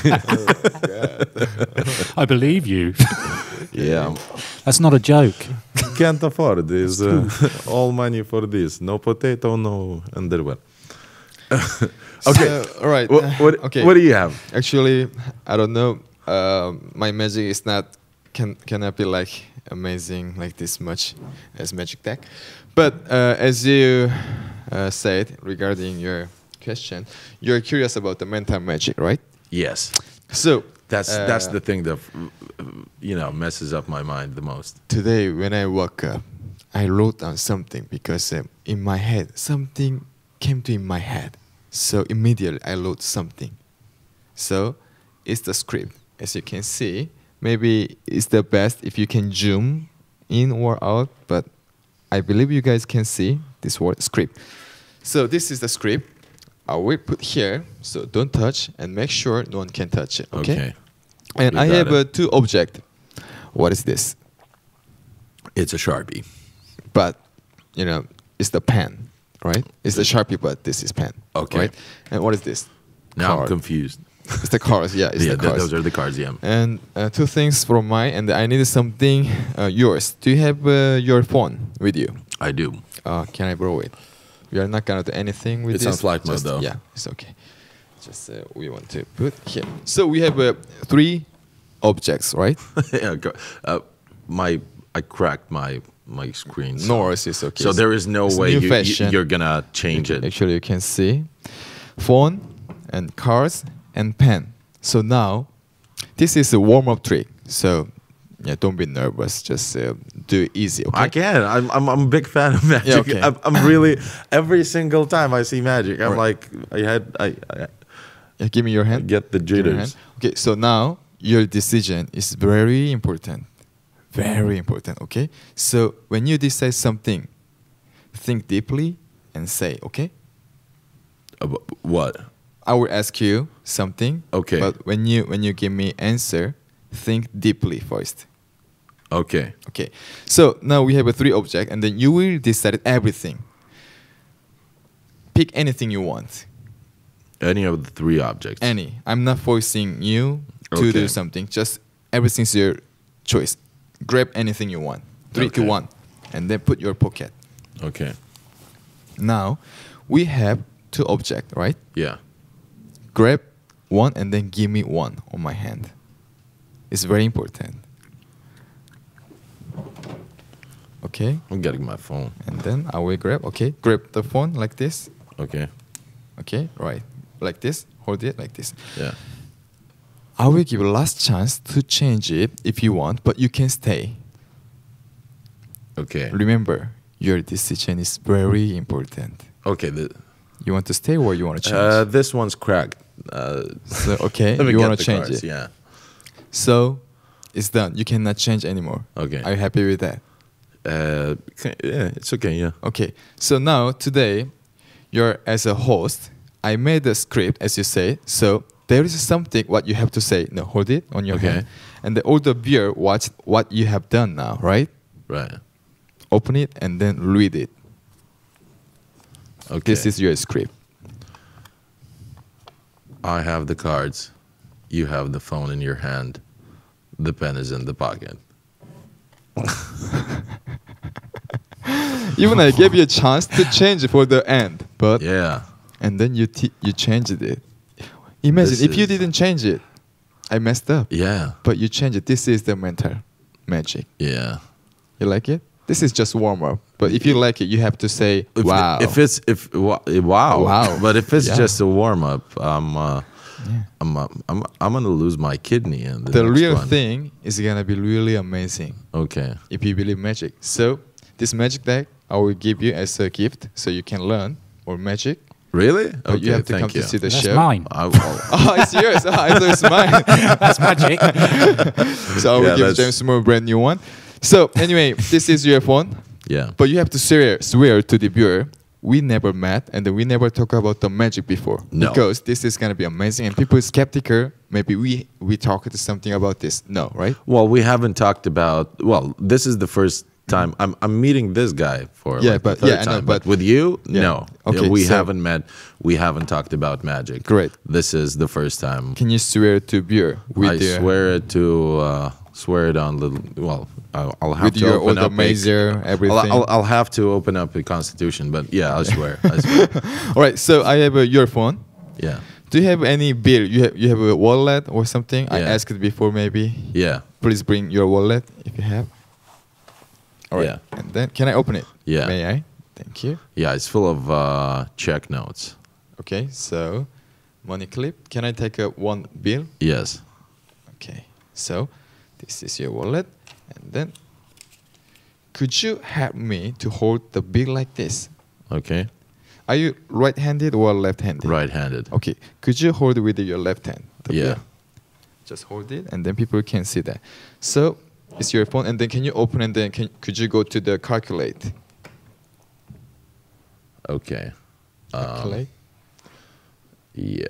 Speaker 4: I believe you.
Speaker 3: (laughs)
Speaker 4: (laughs)
Speaker 3: yeah,
Speaker 4: That's not a joke.
Speaker 3: can't afford this. Uh, (laughs) all money for this. No potato, no underwear. Okay.
Speaker 2: So, all right.
Speaker 3: What what,
Speaker 2: (laughs) okay.
Speaker 3: what do you have?
Speaker 2: Actually, I don't know. Um my magic is not can cannot be like amazing like this much as magic deck. But uh, as you uh, said regarding your question, you're curious about the mental magic, right?
Speaker 3: Yes,
Speaker 2: So
Speaker 3: that's that's
Speaker 2: uh,
Speaker 3: the thing that you know messes up my mind the most.
Speaker 2: today when I woke up, I wrote down something because um, in my head something came to in my head. So immediately I wrote something. So it's the script. As you can see, maybe it's the best if you can zoom in or out, but I believe you guys can see this word script. So this is the script. I will put here, so don't touch and make sure no one can touch it. Okay. And
Speaker 3: You
Speaker 2: I
Speaker 3: got
Speaker 2: have
Speaker 3: it.
Speaker 2: uh, two object. What is this?
Speaker 3: it's a sharpie.
Speaker 2: but you know it's the pen right it's the sharpie but this is pen
Speaker 3: Okay.
Speaker 2: right and what is this
Speaker 3: Now I'm
Speaker 2: Card.
Speaker 3: confused.
Speaker 2: (laughs) it's the cards yeah it's
Speaker 3: (laughs) yeah,
Speaker 2: the
Speaker 3: th-
Speaker 2: cards
Speaker 3: those are the cards. Yeah.
Speaker 2: and uh, two things from mine and i needed something uh, yours do you have uh, your phone with you
Speaker 3: I do. (laughs)
Speaker 2: uh, can i borrow it we are not gonna do anything with
Speaker 3: It's on
Speaker 2: this
Speaker 3: flight mode,
Speaker 2: just-
Speaker 3: though.
Speaker 2: yeah it's okay just uh, we want to put here so we have uh, three objects right
Speaker 3: yeah, go- uh, my I cracked my my screen. so-
Speaker 2: no worries it's okay
Speaker 3: So there is no
Speaker 2: It's
Speaker 3: way
Speaker 2: new
Speaker 3: you, you,
Speaker 2: fashion.
Speaker 3: you're gonna change it.
Speaker 2: Actually, you can see phone and cards and pen. So now, this is a warm-up trick. So yeah, don't be nervous. Just uh, do it easy. Okay.
Speaker 3: I can. I'm, I'm I'm a big fan of magic.
Speaker 2: okay.
Speaker 3: I'm, I'm
Speaker 2: (clears throat)
Speaker 3: really every single time I see magic, I'm
Speaker 2: Right.
Speaker 3: like I had I, I uh,
Speaker 2: Yeah, give me your hand.
Speaker 3: get the
Speaker 2: Give me your
Speaker 3: jitters.
Speaker 2: hand. Okay. So now your decision is very important. Very important. Okay. So when you decide something, think deeply and say, okay.
Speaker 3: Uh, what?
Speaker 2: I will ask you something.
Speaker 3: Okay.
Speaker 2: But when you when you give me answer, think deeply first.
Speaker 3: Okay.
Speaker 2: Okay. So now we have a three object, and then you will decide everything. Pick anything you want.
Speaker 3: Any of the three objects.
Speaker 2: Any. I'm not forcing you to
Speaker 3: Okay.
Speaker 2: do something. Just everything's your choice. Grab anything you want. Three to
Speaker 3: Okay.
Speaker 2: one. And then put your pocket.
Speaker 3: Okay.
Speaker 2: Now we have two object, right?
Speaker 3: Yeah.
Speaker 2: Grab one and then give me one on my hand. It's very important. Okay.
Speaker 3: I'm getting my phone.
Speaker 2: And then I will grab, okay, grab the phone like this,
Speaker 3: Okay.
Speaker 2: okay, right, like this, hold it like this.
Speaker 3: Yeah.
Speaker 2: I will give last chance to change it if you want, but you can stay.
Speaker 3: Okay.
Speaker 2: Remember, your decision is very important.
Speaker 3: Okay. The,
Speaker 2: You want to stay or you want to change?
Speaker 3: uh, this one's cracked. Uh,
Speaker 2: So, okay,
Speaker 3: (laughs) let me
Speaker 2: you
Speaker 3: get
Speaker 2: wanna
Speaker 3: the
Speaker 2: change
Speaker 3: cards,
Speaker 2: it.
Speaker 3: Yeah.
Speaker 2: so it's done. You cannot change anymore.
Speaker 3: Okay.
Speaker 2: Are you happy with that?
Speaker 3: Uh, ca- yeah, it's okay. Yeah.
Speaker 2: Okay. So now today, you're as a host. I made the script as you say. So there is something what you have to say. No, hold it on your
Speaker 3: Okay.
Speaker 2: hand. And the older viewer watch what you have done now, right?
Speaker 3: Right.
Speaker 2: Open it and then read it.
Speaker 3: Okay.
Speaker 2: This is your script.
Speaker 3: I have the cards. You have the phone in your hand. The pen is in the pocket.
Speaker 2: Even I gave you a chance to change for the end, but
Speaker 3: Yeah.
Speaker 2: and then you t- you changed it. Imagine
Speaker 3: This
Speaker 2: if you
Speaker 3: is-
Speaker 2: didn't change it, I messed up.
Speaker 3: Yeah.
Speaker 2: But you change it. This is the mental magic.
Speaker 3: Yeah.
Speaker 2: You like it? This is just warm up. But if you like it, you have to say
Speaker 3: If,
Speaker 2: wow.
Speaker 3: If it's if wa- wow
Speaker 2: Wow.
Speaker 3: But if it's
Speaker 2: Yeah.
Speaker 3: just a warm up, I'm uh, I'm uh, I'm I'm gonna lose my kidney in the,
Speaker 2: the
Speaker 3: next
Speaker 2: real
Speaker 3: one.
Speaker 2: thing is gonna be really amazing
Speaker 3: Okay.
Speaker 2: if you believe magic. So this magic deck I will give you as a gift, so you can learn more magic.
Speaker 3: Really?
Speaker 2: But
Speaker 3: okay.
Speaker 2: you have to
Speaker 3: thank
Speaker 2: come
Speaker 3: you.
Speaker 2: to see the
Speaker 4: That's
Speaker 2: show.
Speaker 4: mine.
Speaker 3: I, will
Speaker 2: (laughs) Oh, it's yours. Oh, I thought it's
Speaker 3: (laughs)
Speaker 2: mine. (laughs)
Speaker 4: That's magic.
Speaker 2: So I will
Speaker 3: Yeah,
Speaker 2: give
Speaker 3: that's-
Speaker 2: James Moore a brand new one. So anyway, this is your phone.
Speaker 3: yeah.
Speaker 2: But you have to swear, swear to the viewer, we never met and we never talked about the magic before.
Speaker 3: No.
Speaker 2: Because this is gonna be amazing and people skeptical. Maybe we we talked something about this. No, right?
Speaker 3: Well, we haven't talked about. Well, this is the first time I'm I'm meeting this guy for
Speaker 2: Yeah,
Speaker 3: like
Speaker 2: but-
Speaker 3: the third
Speaker 2: yeah, I know,
Speaker 3: time. but,
Speaker 2: but-
Speaker 3: with you,
Speaker 2: Yeah.
Speaker 3: no.
Speaker 2: Okay,
Speaker 3: we
Speaker 2: so-
Speaker 3: haven't met. We haven't talked about magic.
Speaker 2: Great.
Speaker 3: This is the first time.
Speaker 2: Can you swear to viewer?
Speaker 3: I
Speaker 2: the-
Speaker 3: swear it to uh, swear it on little. Well, I'll, I'll have
Speaker 2: with
Speaker 3: to
Speaker 2: your
Speaker 3: open
Speaker 2: old
Speaker 3: up. a-
Speaker 2: amazing everything.
Speaker 3: I'll, I'll, I'll have to open up the constitution, but yeah, I swear. I
Speaker 2: (laughs)
Speaker 3: swear.
Speaker 2: All right. So I have uh, your phone.
Speaker 3: yeah,
Speaker 2: Do you have any bill? You have you have a wallet or something? I
Speaker 3: Yeah.
Speaker 2: asked before maybe.
Speaker 3: yeah,
Speaker 2: Please bring your wallet if you have. All right.
Speaker 3: Yeah.
Speaker 2: And then can I open it?
Speaker 3: Yeah.
Speaker 2: May I? Thank you.
Speaker 3: yeah. It's full of uh, check notes.
Speaker 2: Okay. So, money clip. Can I take a one bill?
Speaker 3: Yes.
Speaker 2: Okay. So, this is your wallet, and then. Could you help me to hold the bill like this?
Speaker 3: Okay.
Speaker 2: Are you right-handed or left-handed?
Speaker 3: Right-handed.
Speaker 2: Okay. Could you hold with your left hand? the
Speaker 3: Yeah.
Speaker 2: bill? Just hold it, and then people can see that. So it's your phone, and then can you open and then can, could you go to the calculate?
Speaker 3: Okay.
Speaker 2: Calculate.
Speaker 3: Yeah.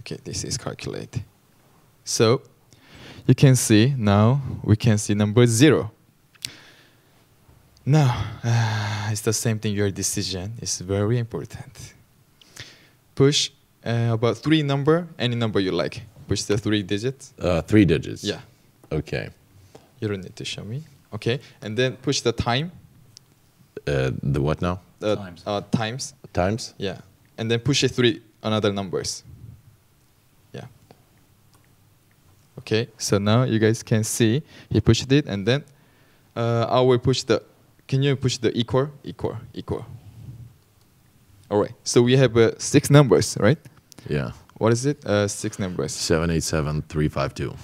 Speaker 2: okay, this is calculate. So you can see now we can see number zero. Now (sighs) it's the same thing. Your decision is very important. Push uh, about three number, any number you like. Push the three digits.
Speaker 3: Uh, three digits.
Speaker 2: Yeah.
Speaker 3: Okay.
Speaker 2: You don't need to show me. Okay, and then push the time.
Speaker 3: Uh, the what now?
Speaker 2: Uh,
Speaker 4: Times.
Speaker 2: Uh, times.
Speaker 3: Times?
Speaker 2: Yeah, and then push it three another numbers. Yeah. Okay, so now you guys can see he pushed it, and then uh, I will push the. Can you push the equal, equal, equal? All right. So we have uh, six numbers, right?
Speaker 3: Yeah.
Speaker 2: What is it? Uh, six numbers.
Speaker 3: Seven eight seven three five two.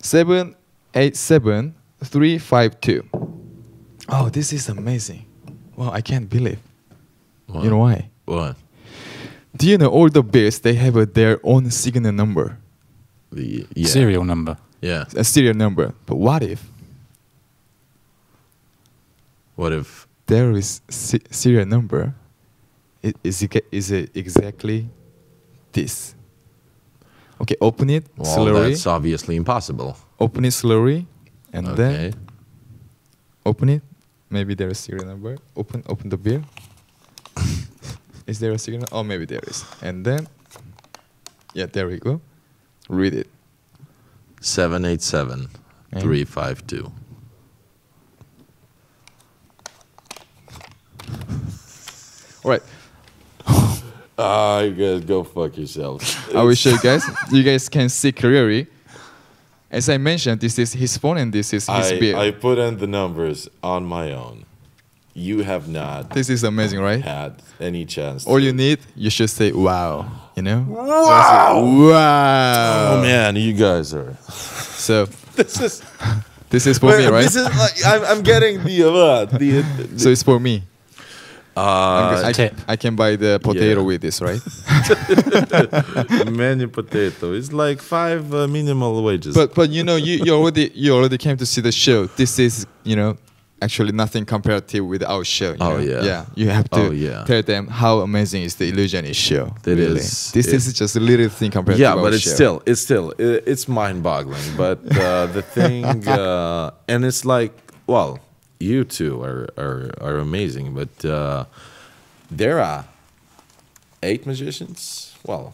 Speaker 2: Seven eight seven three five two. Oh, this is amazing! Wow, I can't believe.
Speaker 3: What?
Speaker 2: You know why?
Speaker 3: What?
Speaker 2: Do you know all the bills they have uh, their own signal number,
Speaker 3: The yeah.
Speaker 4: Serial number.
Speaker 3: Yeah.
Speaker 2: a serial number? But what if
Speaker 3: What if?
Speaker 2: there is si- serial number? i- Is it, ge- is it exactly this? Okay, open it
Speaker 3: Well,
Speaker 2: slowly.
Speaker 3: that's obviously impossible.
Speaker 2: Open it slowly, and
Speaker 3: okay.
Speaker 2: then open it. Maybe there is serial number. Open open the bill. (laughs) is there a serial? Oh, maybe there is. And then, yeah, there we go. Read it.
Speaker 3: Seven eight seven
Speaker 2: Eh?
Speaker 3: three five two.
Speaker 2: All right.
Speaker 3: Ah, you guys go fuck yourselves.
Speaker 2: (laughs) I will show you
Speaker 3: (laughs)
Speaker 2: guys. You guys can see clearly. As I mentioned, this is his phone and this is his bill.
Speaker 3: put in the numbers on my own. You have not
Speaker 2: this is amazing, right?
Speaker 3: had any chance.
Speaker 2: All you need, you should say wow. You know? Wow. Wow.
Speaker 3: oh man, you guys are.
Speaker 2: So
Speaker 3: This is
Speaker 2: (laughs) this is for me, right?
Speaker 3: This is like I'm, I'm getting the uh,
Speaker 2: (laughs)
Speaker 3: the. uh,
Speaker 2: so it's for me. Because I,
Speaker 4: tip.
Speaker 2: I can buy the potato
Speaker 3: Yeah.
Speaker 2: with this, right?
Speaker 3: menu potato is like five uh, minimal wages.
Speaker 2: but but you know you, you already you already came to see the show. This is you know actually nothing comparative with our show. you
Speaker 3: Oh,
Speaker 2: know?
Speaker 3: yeah.
Speaker 2: yeah. You have to
Speaker 3: Oh, yeah.
Speaker 2: tell them how amazing is the illusionist show.
Speaker 3: It
Speaker 2: really.
Speaker 3: is.
Speaker 2: This
Speaker 3: It-
Speaker 2: is just a little thing compared.
Speaker 3: yeah,
Speaker 2: to our
Speaker 3: but it's
Speaker 2: show.
Speaker 3: still it's still i it's mind boggling. But uh, the thing uh, and it's like well, you two are are, are amazing, but uh, there are eight magicians. Well,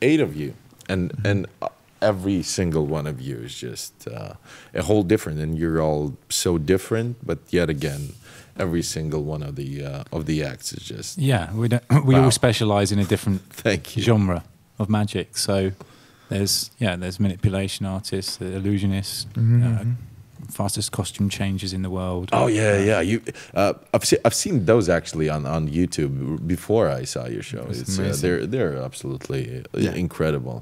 Speaker 3: eight of you, and and uh, every single one of you is just uh, a whole different, and you're all so different. But yet again, every single one of the uh, of the acts is just
Speaker 4: Yeah, we don't, we
Speaker 3: Wow.
Speaker 4: all specialize in a different
Speaker 3: thank you.
Speaker 4: genre of magic. So there's yeah, there's manipulation artists, the illusionists,
Speaker 2: Mm-hmm,
Speaker 4: uh, fastest costume changes in the world.
Speaker 3: Oh yeah, yeah. You, uh, I've seen I've seen those actually on, on YouTube before I saw your show.
Speaker 2: That's
Speaker 3: It's, uh,
Speaker 2: amazing.
Speaker 3: they're they're absolutely uh,
Speaker 2: Yeah.
Speaker 3: incredible.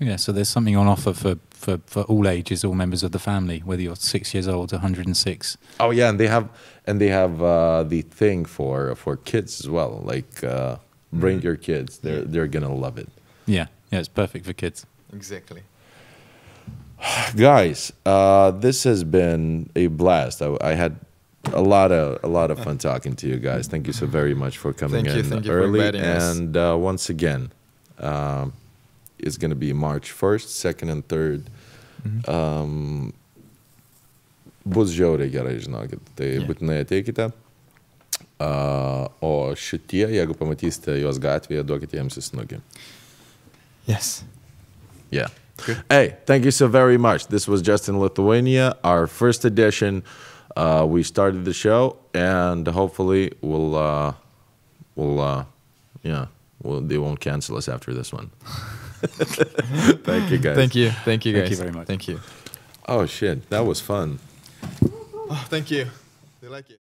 Speaker 4: Yeah, so there's something on offer for, for, for all ages, all members of the family, whether you're six years old, 106.
Speaker 3: Oh yeah, and they have and they have uh, the thing for for kids as well. Like uh, bring
Speaker 2: Mm-hmm.
Speaker 3: your kids. They're they're gonna love it.
Speaker 4: Yeah, yeah, it's perfect for kids.
Speaker 2: Exactly.
Speaker 3: guys uh, this has been a blast I, I had a lot of a lot of fun talking to you guys thank you so very much for coming
Speaker 2: Thank you,
Speaker 3: in
Speaker 2: thank you for
Speaker 3: early
Speaker 2: inviting us.
Speaker 3: and uh, once again um, it's going to be march 1st 2nd and 3rd
Speaker 2: Mm-hmm.
Speaker 3: um, bus žiauriai gerai žinokit tai
Speaker 2: Jo.
Speaker 3: būtinai ateikite uh, o šitie jeigu pamatysite juos gatvėje duokite jiems į snukį
Speaker 2: Yes.
Speaker 3: Yeah. Hey, thank you so very much. This was Justin Lithuania, our first edition. Uh, we started the show, and hopefully we'll uh, we'll uh, yeah, we'll, they won't cancel us after this one. (laughs) thank you guys.
Speaker 2: Thank you. Thank you guys.
Speaker 4: Thank you very much.
Speaker 2: Thank you.
Speaker 3: Oh shit, that was fun.
Speaker 2: Oh, thank you. They like it.